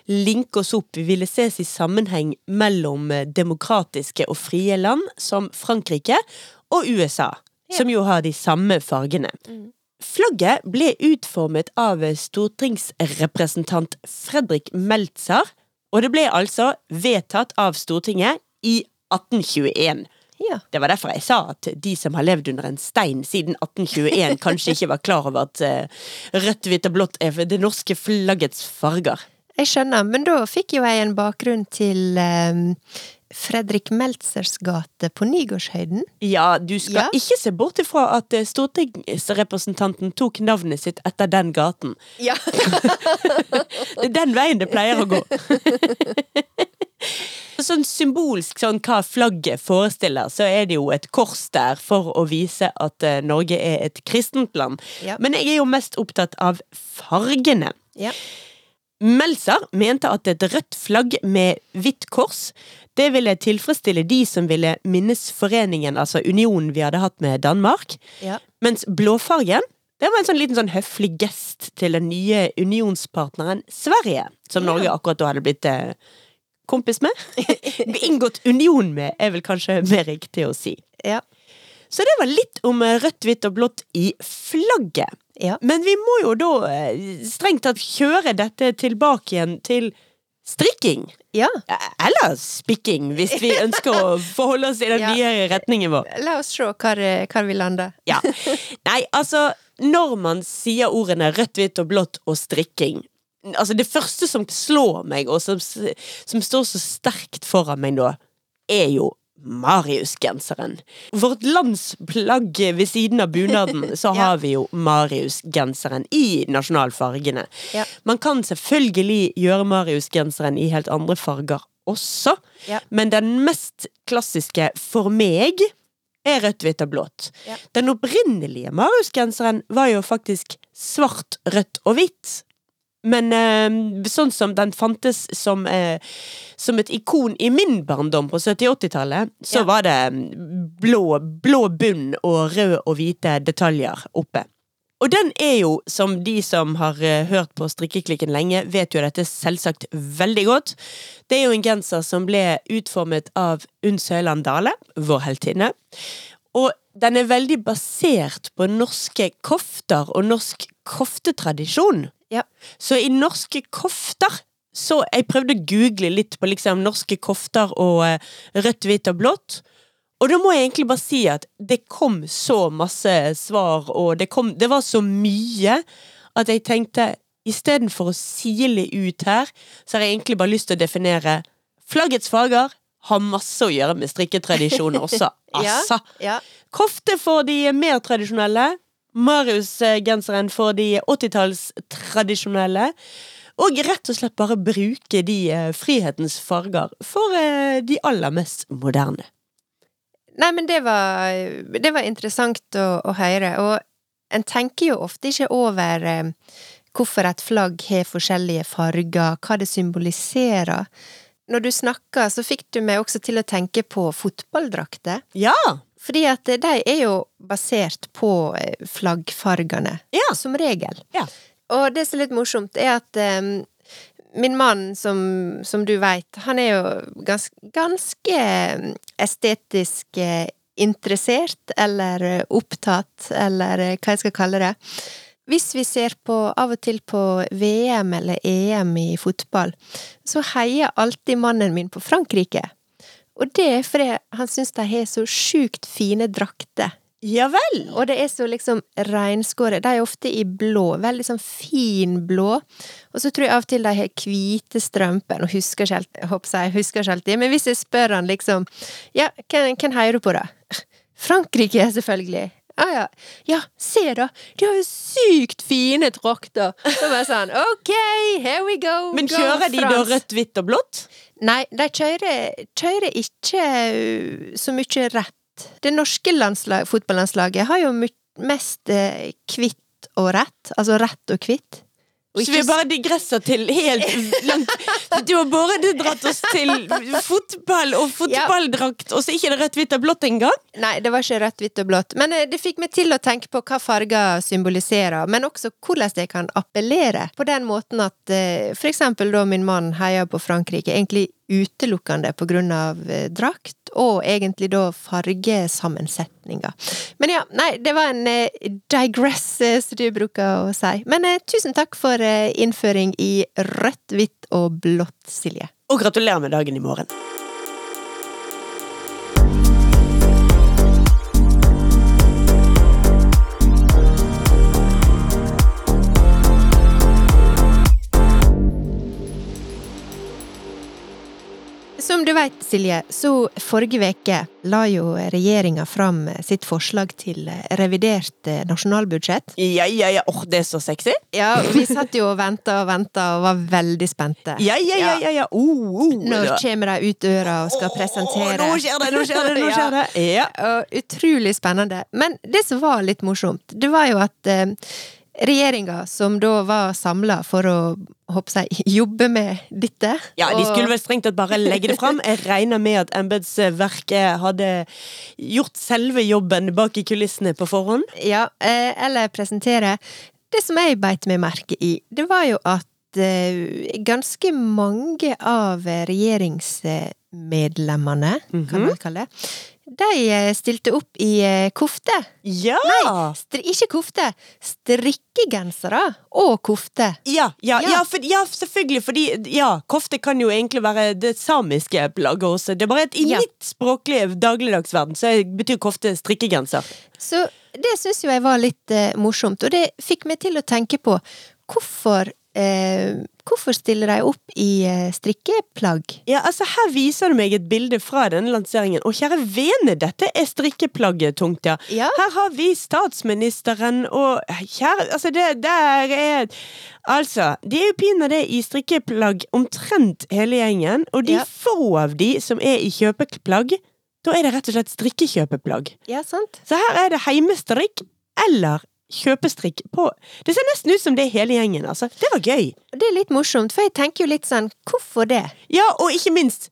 Speaker 2: linke oss opp, vi ville ses i sammenheng mellom eh, demokratiske og frie land som Frankrike og USA, som jo har de samme fargene. Flagget ble utformet av stortingsrepresentant Fredrik Meltzer, og det ble altså vedtatt av Stortinget i 1821.
Speaker 1: Ja.
Speaker 2: Det var derfor jeg sa at de som har levd under en stein siden 1821, kanskje ikke var klar over at eh, rødt, hvitt og blått er det norske flaggets farger.
Speaker 1: Jeg skjønner, men da fikk jo jeg en bakgrunn til eh, Fredrik Meltzers gate på Nygårdshøyden.
Speaker 2: Ja, du skal
Speaker 1: Ja.
Speaker 2: ikke se bort ifra at eh, stortingsrepresentanten tok navnet sitt etter den gaten.
Speaker 1: Ja.
Speaker 2: Det er den veien det pleier å gå. [laughs] Sånn symbolsk sånn hva flagget forestiller, så er det jo et kors der for å vise at eh, Norge er et kristent land.
Speaker 1: Ja.
Speaker 2: Men jeg er jo mest opptatt av fargene.
Speaker 1: ja.
Speaker 2: Meltzer mente at et rødt flagg med hvitt kors det ville tilfredsstille de som ville minnes foreningen, altså unionen vi hadde hatt med Danmark.
Speaker 1: Ja.
Speaker 2: Mens blåfargen det var en sånn liten sånn høflig gest til den nye unionspartneren Sverige, som
Speaker 1: Ja.
Speaker 2: Norge akkurat da hadde blitt eh, kompis
Speaker 1: [laughs]
Speaker 2: med. Inngått union med, er vel kanskje mer riktig å si.
Speaker 1: Ja.
Speaker 2: Så det var litt om eh, rødt, hvitt og blått i flagget.
Speaker 1: Ja.
Speaker 2: Men vi må jo da eh, strengt tatt kjøre dette tilbake igjen til strikking.
Speaker 1: ja.
Speaker 2: Eh, Eller spikking, hvis vi ønsker å forholde oss i den
Speaker 1: Ja.
Speaker 2: nye retningen vår.
Speaker 1: La oss se hvor, eh, hvor vi lander.
Speaker 2: Ja. Nei, altså, når man sier ordene rødt, hvitt og blått og strikking Altså, det første som slår meg, og som, s- som står så sterkt foran meg nå, er jo Marius-genseren. Vårt landsplagg ved siden av bunaden, så
Speaker 1: Ja.
Speaker 2: har vi jo Marius-genseren i nasjonalfargene.
Speaker 1: Ja.
Speaker 2: Man kan selvfølgelig gjøre Marius-genseren i helt andre farger også,
Speaker 1: Ja.
Speaker 2: men den mest klassiske for meg er rødt, hvitt og blått.
Speaker 1: Ja.
Speaker 2: Den opprinnelige Marius-genseren var jo faktisk svart, rødt og hvitt. Men eh, sånn som den fantes som, eh, som et ikon i min barndom på 70-80-tallet, så
Speaker 1: Ja.
Speaker 2: var det mm, blå, blå bunn og rød og hvite detaljer oppe. Og den er jo, som de som har eh, hørt på Strikkeklikken lenge, vet jo dette selvsagt veldig godt. Det er jo en genser som ble utformet av Unn Søyland Dale, vår heltinne. Og den er veldig basert på norske kofter og norsk koftetradisjon.
Speaker 1: Ja.
Speaker 2: Så i norske kofter så Jeg prøvde å google litt på liksom norske kofter og eh, rødt, hvitt og blått. Og da må jeg egentlig bare si at det kom så masse svar, og det, kom, det var så mye at jeg tenkte istedenfor å sile ut her, så har jeg egentlig bare lyst til å definere flaggets farger har masse å gjøre med strikketradisjoner også.
Speaker 1: [laughs] Ja.
Speaker 2: Altså!
Speaker 1: Ja.
Speaker 2: Kofte for de mer tradisjonelle. Marius-genseren for de 80-talls-tradisjonelle. Og rett og slett bare bruke de eh, frihetens farger for eh, de aller mest moderne.
Speaker 1: Nei, men det var, det var interessant å, å høre. Og en tenker jo ofte ikke over eh, hvorfor et flagg har forskjellige farger, hva det symboliserer. Når du snakka, så fikk du meg også til å tenke på fotballdrakter.
Speaker 2: Ja!
Speaker 1: Fordi at de er jo basert på eh, flaggfargene,
Speaker 2: Ja.
Speaker 1: som regel.
Speaker 2: Ja.
Speaker 1: Og det som er litt morsomt, er at eh, min mann, som, som du veit, han er jo gans, ganske eh, estetisk eh, interessert, eller eh, opptatt, eller eh, hva jeg skal kalle det. Hvis vi ser på, av og til på VM eller EM i fotball, så heier alltid mannen min på Frankrike. Og det er fordi han syns de har så sjukt fine drakter.
Speaker 2: Ja vel!
Speaker 1: Og det er så liksom reinskåret. De er ofte i blå, veldig sånn fin blå. Og så tror jeg av og til de har hvite strømper. Nå husker jeg ikke helt, jeg håper jeg husker ikke alltid, men hvis jeg spør han liksom Ja, hvem, hvem heier du på, da? Frankrike, selvfølgelig. Ja, ja. Ja, se da! De har jo sykt fine drakter! Så bare sånn, OK, here we go!
Speaker 2: Men
Speaker 1: go
Speaker 2: kjører de da
Speaker 1: France.
Speaker 2: rødt, hvitt og blått?
Speaker 1: Nei, de kjører, kjører ikke ø, så mye rett. Det norske landslag, fotballandslaget har jo my- mest ø, kvitt og rett. Altså rett og kvitt. Og
Speaker 2: Så vi
Speaker 1: ikke
Speaker 2: bare digresser til
Speaker 1: [laughs]
Speaker 2: helt langt Du har bare dratt oss til fotball og fotballdrakt, og så ikke det rødt, hvitt og blått engang?
Speaker 1: s- Nei, det var ikke rødt, hvitt og blått. Men ø, det fikk meg til å tenke på hva farger symboliserer, men også hvordan det kan appellere. På den måten at ø, for eksempel da min mann heier på Frankrike, egentlig utelukkende på grunn av ø, drakt, og egentlig da fargesammensetninga. Men ja, nei, det var en eh, digress, eh, som du bruker å si. Men eh, tusen takk for eh, innføring i rødt, hvitt og blått, Silje.
Speaker 2: Og gratulerer med dagen i morgen.
Speaker 1: Som du vet, Silje, så forrige veke la jo regjeringa fram sitt forslag til eh, revidert eh, nasjonalbudsjett.
Speaker 2: Ja, ja, ja. Åh, det er så sexy.
Speaker 1: Ja, og [laughs] vi satt jo og venta og venta og var veldig spente.
Speaker 2: Ja, ja, ja. ja, ja. Oh, oh,
Speaker 1: Når
Speaker 2: da.
Speaker 1: kommer de ut døra og skal presentere?
Speaker 2: Åh, nå skjer [laughs] det, nå skjer det! nå
Speaker 1: [laughs] Ja.
Speaker 2: skjer det Ja,
Speaker 1: og utrolig spennende. Men det som var litt morsomt, det var jo at eh, regjeringa, som da var samla for å håper jeg, jobbe med dette
Speaker 2: ja De
Speaker 1: og-
Speaker 2: skulle vel strengt tatt bare legge det fram. Jeg regner med at embetsverket hadde gjort selve jobben bak i kulissene på forhånd.
Speaker 1: Ja, eh, eller presentere. Det som jeg beit meg merke i, det var jo at eh, ganske mange av regjeringsmedlemmene, kan man kalle det, de eh, stilte opp i eh, kofte.
Speaker 2: Ja!
Speaker 1: Stri ikke kofte, strikkegensere og kofte.
Speaker 2: Ja, ja,
Speaker 1: Ja.
Speaker 2: ja, for, ja, selvfølgelig, fordi ja, kofte kan jo egentlig være det samiske plagget også. Det er bare at i
Speaker 1: Ja.
Speaker 2: mitt språklige dagligdagsverden så betyr kofte strikkegenser.
Speaker 1: Så det syns jo jeg var litt eh, morsomt, og det fikk meg til å tenke på hvorfor eh, Hvorfor stiller de opp i eh, strikkeplagg?
Speaker 2: Ja, altså Her viser du meg et bilde fra denne lanseringen. Og kjære vene, dette er strikkeplagget tungt, ja.
Speaker 1: Ja.
Speaker 2: Her har vi statsministeren og Kjære Altså, det der er Altså, de er jo pinadø i strikkeplagg omtrent hele gjengen. Og de
Speaker 1: Ja.
Speaker 2: få av de som er i kjøpeplagg, da er det rett og slett strikkekjøpeplagg.
Speaker 1: Ja, sant?
Speaker 2: Så her er det heimestrikk eller kjøpestrikk på Det ser nesten ut som det er hele gjengen, altså. Det var gøy.
Speaker 1: Og det er litt morsomt, for jeg tenker jo litt sånn Hvorfor det?
Speaker 2: Ja, og ikke minst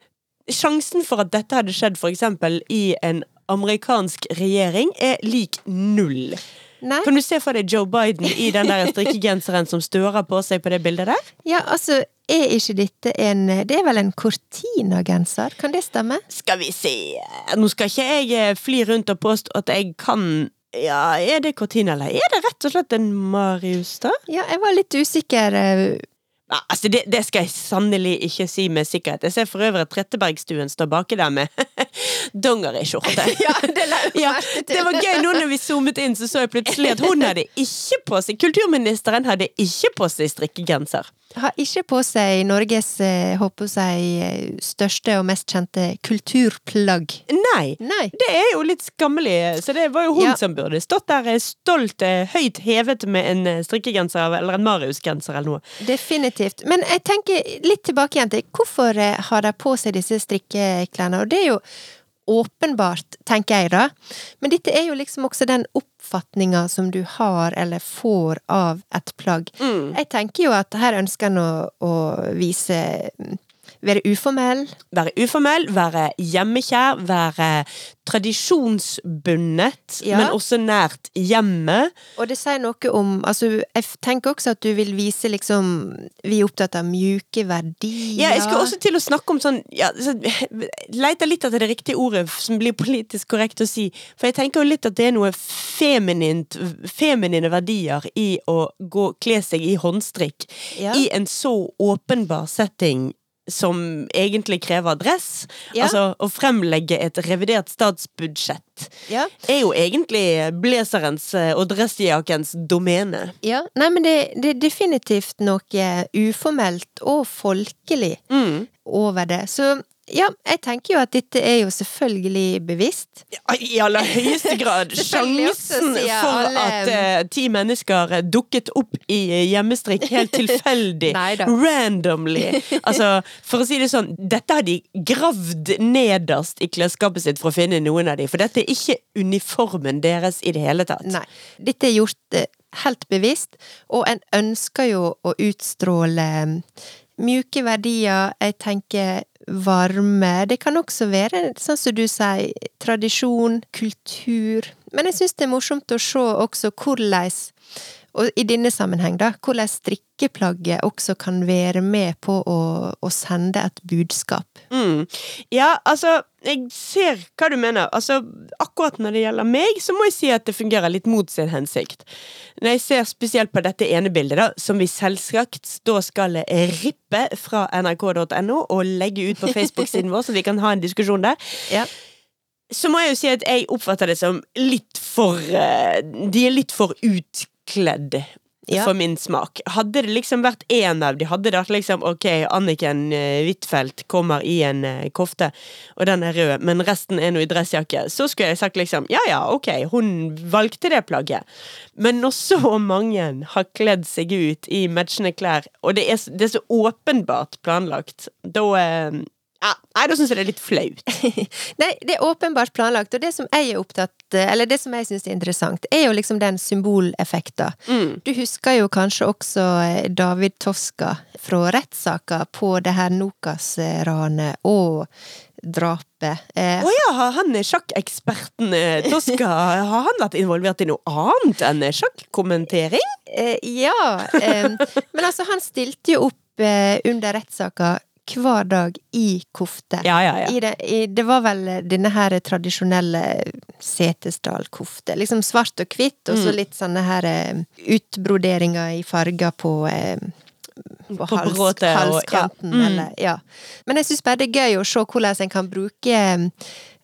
Speaker 2: Sjansen for at dette hadde skjedd for eksempel i en amerikansk regjering er lik null.
Speaker 1: Nei?
Speaker 2: Kan du se for deg Joe Biden i den der strikkegenseren som stører på seg på det bildet der?
Speaker 1: Ja, altså, er ikke dette en Det er vel en Cortina-genser? Kan det stemme?
Speaker 2: Skal vi se Nå skal ikke jeg eh, fly rundt og påstå at jeg kan Ja, er det Cortina, eller er det rett og slett en Marius, da?
Speaker 1: Ja, jeg var litt usikker. eh,
Speaker 2: Nei, altså det, det skal jeg sannelig ikke si med sikkerhet. Jeg ser for øvrig at Trettebergstuen står baki der med [laughs] dongeriskjorte.
Speaker 1: [laughs] [laughs] Ja, det la
Speaker 2: [laughs]
Speaker 1: jeg
Speaker 2: Ja,
Speaker 1: merke til.
Speaker 2: det var gøy nå når vi zoomet inn, så så jeg plutselig at hun hadde ikke på seg Kulturministeren hadde ikke på seg strikkegenser.
Speaker 1: Har ikke på seg Norges eh, håper jeg, eh, største og mest kjente kulturplagg.
Speaker 2: Nei.
Speaker 1: Nei.
Speaker 2: Det er jo litt skammelig, så det var jo hun
Speaker 1: Ja.
Speaker 2: som burde stått der eh, stolt, eh, høyt hevet med en eh, strikkegenser av- eller en Marius-genser eller noe.
Speaker 1: Definitivt. Men jeg tenker litt tilbake igjen til hvorfor eh, har de på seg disse strikkeklærne? Og det er jo åpenbart, tenker jeg da. Men dette er jo liksom også den oppfatninga som du har eller får av et plagg.
Speaker 2: Mm.
Speaker 1: Jeg tenker jo at her ønsker en å, å vise Være uformell.
Speaker 2: Være uformell, være hjemmekjær, være tradisjonsbundet,
Speaker 1: Ja.
Speaker 2: men også nært hjemmet.
Speaker 1: Og det sier noe om Altså, jeg f- tenker også at du vil vise liksom Vi er opptatt av mjuke verdier.
Speaker 2: Ja, jeg skulle også til å snakke om sånn ja, så, [laughs] Leter litt etter det riktige ordet som blir politisk korrekt å si. For jeg tenker jo litt at det er noe feminint feminine verdier i å gå, kle seg i håndstrikk
Speaker 1: Ja.
Speaker 2: i en så åpenbar setting. Som egentlig krever dress.
Speaker 1: Ja.
Speaker 2: Altså, å fremlegge et revidert statsbudsjett
Speaker 1: ja.
Speaker 2: er jo egentlig blazerens eh, og dressjakkens domene.
Speaker 1: Ja, nei, men det, det er definitivt noe eh, uformelt og folkelig
Speaker 2: Mm.
Speaker 1: over det. Så ja, jeg tenker jo at dette er jo selvfølgelig bevisst.
Speaker 2: I aller
Speaker 1: [laughs]
Speaker 2: høyeste grad.
Speaker 1: Selvfølgelig også,
Speaker 2: Sjansen
Speaker 1: sier
Speaker 2: for
Speaker 1: alle.
Speaker 2: at eh, ti mennesker eh, dukket opp i eh, hjemmestrikk
Speaker 1: [laughs]
Speaker 2: helt tilfeldig,
Speaker 1: Neida. [laughs]
Speaker 2: randomly. Altså, for å si det sånn, dette har de gravd nederst i klesskapet sitt for å finne noen av de, for dette er ikke uniformen deres i det hele tatt.
Speaker 1: Nei, dette er gjort eh, helt bevisst, og en ønsker jo å utstråle mm, mjuke verdier, jeg tenker varme. Det kan også være, sånn som du sier, tradisjon, kultur. Men jeg syns det er morsomt å se også hvordan og i denne sammenheng, da, hvordan strikkeplagget også kan være med på å, å sende et budskap.
Speaker 2: Mm. Ja, altså, jeg ser hva du mener. Altså, akkurat når det gjelder meg, så må jeg si at det fungerer litt mot sin hensikt. Når jeg ser spesielt på dette ene bildet, da, som vi selvsagt da skal rippe fra nrk.no og legge ut på Facebook-siden vår, så vi kan ha en diskusjon der,
Speaker 1: Ja.
Speaker 2: så må jeg jo si at jeg oppfatter det som litt for eh, De er litt for utkledd.
Speaker 1: Ja.
Speaker 2: For min smak. Hadde det liksom vært én av de Hadde det vært liksom ok, Anniken eh, Huitfeldt kommer i en eh, kofte, og den er rød, men resten er nå i dressjakke, så skulle jeg sagt liksom ja ja, ok, hun valgte det plagget. Men når så mange har kledd seg ut i matchende klær, og det er, s- det er så åpenbart planlagt, da eh, ja, Nei, da syns jeg det er litt flaut.
Speaker 1: Nei, det er åpenbart planlagt, og det som jeg er opptatt eh, Eller det som jeg syns er interessant, er jo liksom den symboleffekten. Du husker jo kanskje også eh, David Toska fra rettssaka på det her Nokas-ranet og drapet. Eh,
Speaker 2: Å ja, har han eh, sjakkeksperten eh, Toska Har han vært involvert i noe annet enn eh, sjakkommentering?
Speaker 1: eh, ja! Eh, men altså, han stilte jo opp eh, under rettssaka hver dag i kofte.
Speaker 2: Ja, ja, ja.
Speaker 1: I det, i, det var vel denne her tradisjonelle Setesdal-kofte. Liksom svart og hvitt, og så
Speaker 2: Mm.
Speaker 1: litt sånne her eh, utbroderinger i farger på eh, på, hals,
Speaker 2: bråte og-
Speaker 1: halskanten,
Speaker 2: ja. Mm.
Speaker 1: eller ja. Men jeg syns bare det er gøy å se hvordan en kan bruke eh,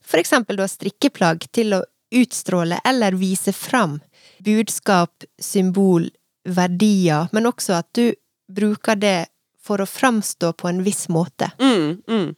Speaker 1: for eksempel da strikkeplagg til å utstråle eller vise fram budskap, symbol, verdier, men også at du bruker det for å framstå på en viss måte.
Speaker 2: Mm, mm.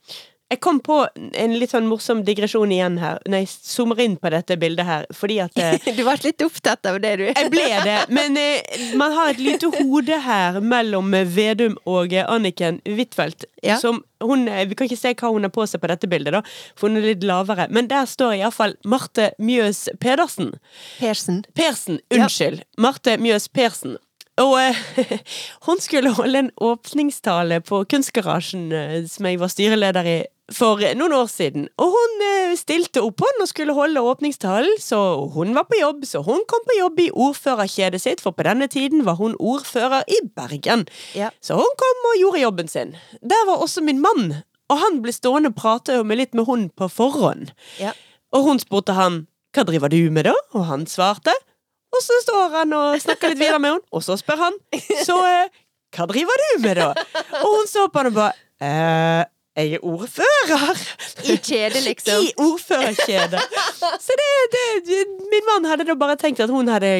Speaker 2: Jeg kom på en litt sånn morsom digresjon igjen her, når jeg zoomer inn på dette bildet her, fordi at [laughs] eh,
Speaker 1: [laughs] Du ble litt opptatt av det, du.
Speaker 2: Jeg ble det, men eh, man har et lite hode her mellom eh, Vedum og eh, Anniken Huitfeldt.
Speaker 1: Ja.
Speaker 2: Som hun, eh, vi kan ikke se hva hun har på seg på dette bildet, da, for hun er litt lavere. Men der står iallfall Marte Mjøs Pedersen.
Speaker 1: Persen.
Speaker 2: Persen, unnskyld. Marte Mjøs Persen. Og eh, [laughs] hun skulle holde en åpningstale på Kunstgarasjen, eh, som jeg var styreleder i for noen år siden. Og hun eh, stilte opp hånden og skulle holde åpningstalen, så hun var på jobb. Så hun kom på jobb i ordførerkjedet sitt, for på denne tiden var hun ordfører i Bergen.
Speaker 1: Ja.
Speaker 2: Så hun kom og gjorde jobben sin. Der var også min mann, og han ble stående og prate med litt med hun på forhånd.
Speaker 1: Ja.
Speaker 2: Og hun spurte han 'Hva driver du med, da?' Og han svarte. Og så står han og snakker litt videre med henne, og så spør han 'Så eh, hva driver du med, da?' Og hun så på han og bare 'Eh, jeg er ordfører'.
Speaker 1: I kjede, liksom.
Speaker 2: I ordførerkjedet. Så det, det, min mann hadde da bare tenkt at hun hadde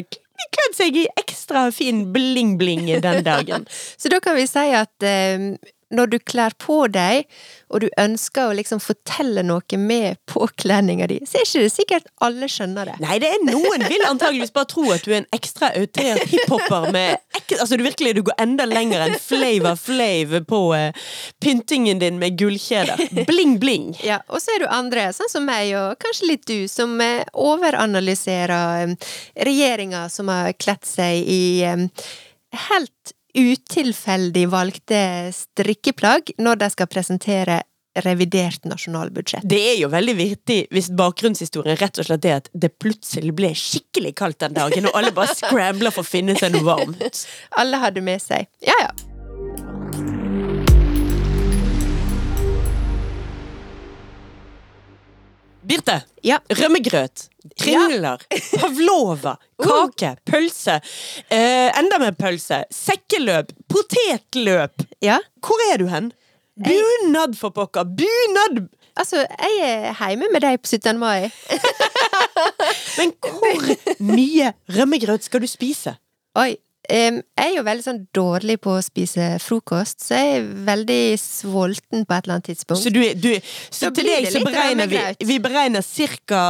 Speaker 2: kledd seg i ekstra fin bling-bling den dagen.
Speaker 1: Så da kan vi si at eh, når du kler på deg, og du ønsker å liksom fortelle noe med påkledninga di, så er ikke det sikkert alle skjønner det.
Speaker 2: Nei, det er noen vil antageligvis bare tro at du er en ekstra outrert hiphoper med ek Altså du virkelig du går enda lenger enn Flavor Flav på eh, pyntingen din med gullkjeder. Bling-bling.
Speaker 1: Ja, og så er du andre, sånn som meg, og kanskje litt du, som eh, overanalyserer eh, regjeringa som har kledd seg i eh, helt utilfeldig valgte strikkeplagg når de skal presentere revidert nasjonalbudsjett.
Speaker 2: Det er jo veldig viktig hvis bakgrunnshistorien rett og slett er at det plutselig ble skikkelig kaldt den dagen, og alle bare scrambler for å finne seg noe varmt.
Speaker 1: Alle hadde med seg. Ja, ja.
Speaker 2: Birte,
Speaker 1: Ja,
Speaker 2: rømmegrøt, kringler, pavlova, kake, pølse, eh, enda mer pølse, sekkeløp, potetløp.
Speaker 1: ja.
Speaker 2: Hvor er du hen? Bunad for pokker, bunad!
Speaker 1: Altså, jeg er hjemme med deg på 17. mai.
Speaker 2: Men
Speaker 1: [laughs]
Speaker 2: hvor mye rømmegrøt skal du spise?
Speaker 1: Oi. em, jeg er jo veldig sånn dårlig på å spise frokost, så jeg er veldig sulten på et eller annet tidspunkt.
Speaker 2: Så, du, er- du, er- så
Speaker 1: Da
Speaker 2: til
Speaker 1: blir
Speaker 2: deg
Speaker 1: det
Speaker 2: så
Speaker 1: litt
Speaker 2: beregner vi,
Speaker 1: rømmegrøt.
Speaker 2: vi beregner cirka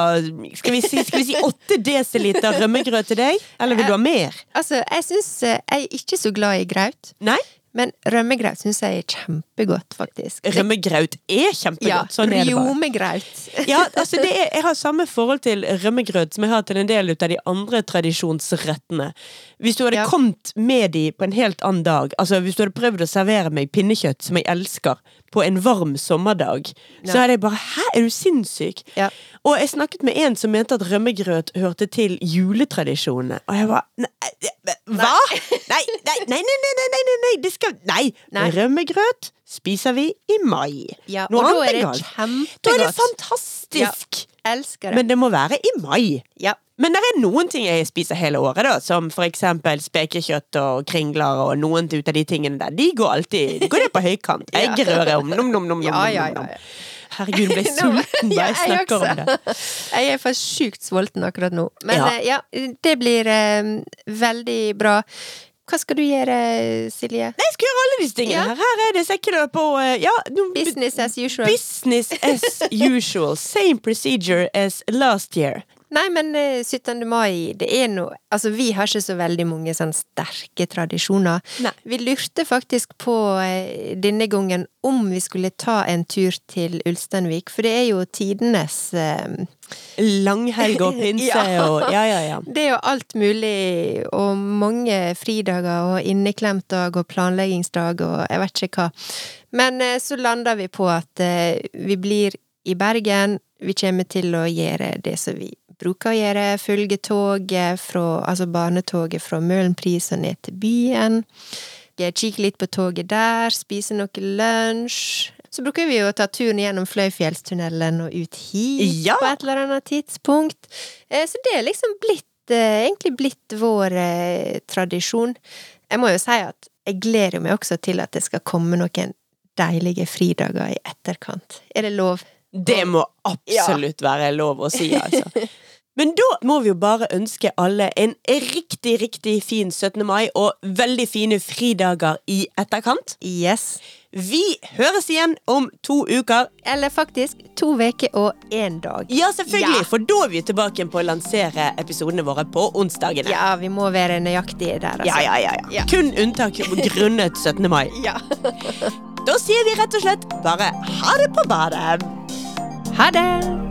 Speaker 2: skal vi, si, skal vi si 8 desiliter rømmegrøt til deg? Eller vil du ha mer?
Speaker 1: Altså, jeg syns Jeg er ikke så glad i graut,
Speaker 2: Nei?
Speaker 1: men rømmegraut syns jeg er kjempegodt, faktisk.
Speaker 2: Rømmegrøt er kjempegodt.
Speaker 1: Ja,
Speaker 2: sånn er det bare.
Speaker 1: rjomegraut.
Speaker 2: [laughs] Ja, altså det er, Jeg har samme forhold til rømmegrøt som jeg har til en del ut av de andre tradisjonsrettene. Hvis du hadde
Speaker 1: Ja.
Speaker 2: kommet med de på en helt annen dag Altså Hvis du hadde prøvd å servere meg pinnekjøtt, som jeg elsker, på en varm sommerdag, så
Speaker 1: Ja.
Speaker 2: hadde jeg bare Hæ, er du sinnssyk?
Speaker 1: Ja.
Speaker 2: Og jeg snakket med en som mente at rømmegrøt hørte til juletradisjonene. Og jeg var Hva?! Nei, nei, nei, nei, nei, nei, nei, nei, nei. Det skal Nei!
Speaker 1: Nei.
Speaker 2: Rømmegrøt spiser vi i mai.
Speaker 1: Ja,
Speaker 2: Noe
Speaker 1: og da
Speaker 2: annet
Speaker 1: er det
Speaker 2: galt. Da er det
Speaker 1: kjempegodt.
Speaker 2: fantastisk!
Speaker 1: Elsker det.
Speaker 2: Men det må være i mai.
Speaker 1: Ja.
Speaker 2: Men det er noen ting jeg spiser hele året, da, som for eksempel spekekjøtt og kringler og noen ut av de tingene der. De går alltid går det på
Speaker 1: [laughs]
Speaker 2: høykant. Eggerøre om nom, nom, nom, nom,
Speaker 1: Ja,
Speaker 2: nom, nom,
Speaker 1: ja, ja,
Speaker 2: nom.
Speaker 1: ja.
Speaker 2: Herregud, jeg ble sulten
Speaker 1: [laughs] Ja,
Speaker 2: bare jeg snakker om det.
Speaker 1: [laughs] Jeg er faktisk sjukt sulten akkurat nå. Men
Speaker 2: Ja.
Speaker 1: eh, ja, det blir eh, veldig bra. Hva skal du gjøre, Silje?
Speaker 2: Nei, jeg skal gjøre alle disse tingene
Speaker 1: Ja.
Speaker 2: her. Her er det sekkeløp og eh, ja, no,
Speaker 1: Business as usual.
Speaker 2: business as usual. Same procedure as last year.
Speaker 1: Nei, men eh, 17. mai, det er noe Altså, vi har ikke så veldig mange sånn sterke tradisjoner.
Speaker 2: Nei.
Speaker 1: Vi lurte faktisk på eh, denne gangen om vi skulle ta en tur til Ulsteinvik, for det er jo tidenes eh,
Speaker 2: Langhelg
Speaker 1: [laughs]
Speaker 2: og pinse
Speaker 1: Ja.
Speaker 2: og Ja, ja, ja.
Speaker 1: Det er jo alt mulig, og mange fridager og inneklemtdag og planleggingsdag og jeg vet ikke hva. Men eh, så lander vi på at eh, vi blir i Bergen. Vi kommer til å gjøre det som vi bruker å gjøre, følge toget fra Altså barnetoget fra Møhlenpris og ned til byen. Eh, Kikke litt på toget der, spise noe lunsj. Så bruker vi jo å ta turen gjennom Fløyfjellstunnelen og ut hit
Speaker 2: Ja.
Speaker 1: på et eller annet tidspunkt. Eh, Så det er liksom blitt, eh, egentlig blitt vår eh, tradisjon. Jeg må jo si at jeg gleder meg også til at det skal komme noen deilige fridager i etterkant. Er det lov?
Speaker 2: Det må absolutt være lov å si,
Speaker 1: [laughs]
Speaker 2: altså. Men da må vi jo bare ønske alle en riktig, riktig fin 17. mai og veldig fine fridager i etterkant.
Speaker 1: Yes.
Speaker 2: Vi høres igjen om to uker.
Speaker 1: Eller faktisk to uker og én dag.
Speaker 2: Ja, selvfølgelig,
Speaker 1: Ja.
Speaker 2: for da er vi tilbake igjen på å lansere episodene våre på onsdagene.
Speaker 1: Ja, vi må være nøyaktige der, altså.
Speaker 2: Ja, ja, ja, ja.
Speaker 1: Ja.
Speaker 2: Kun unntak grunnet 17. mai.
Speaker 1: ja.
Speaker 2: Da sier vi rett og slett bare ha det på badet.
Speaker 1: Ha det!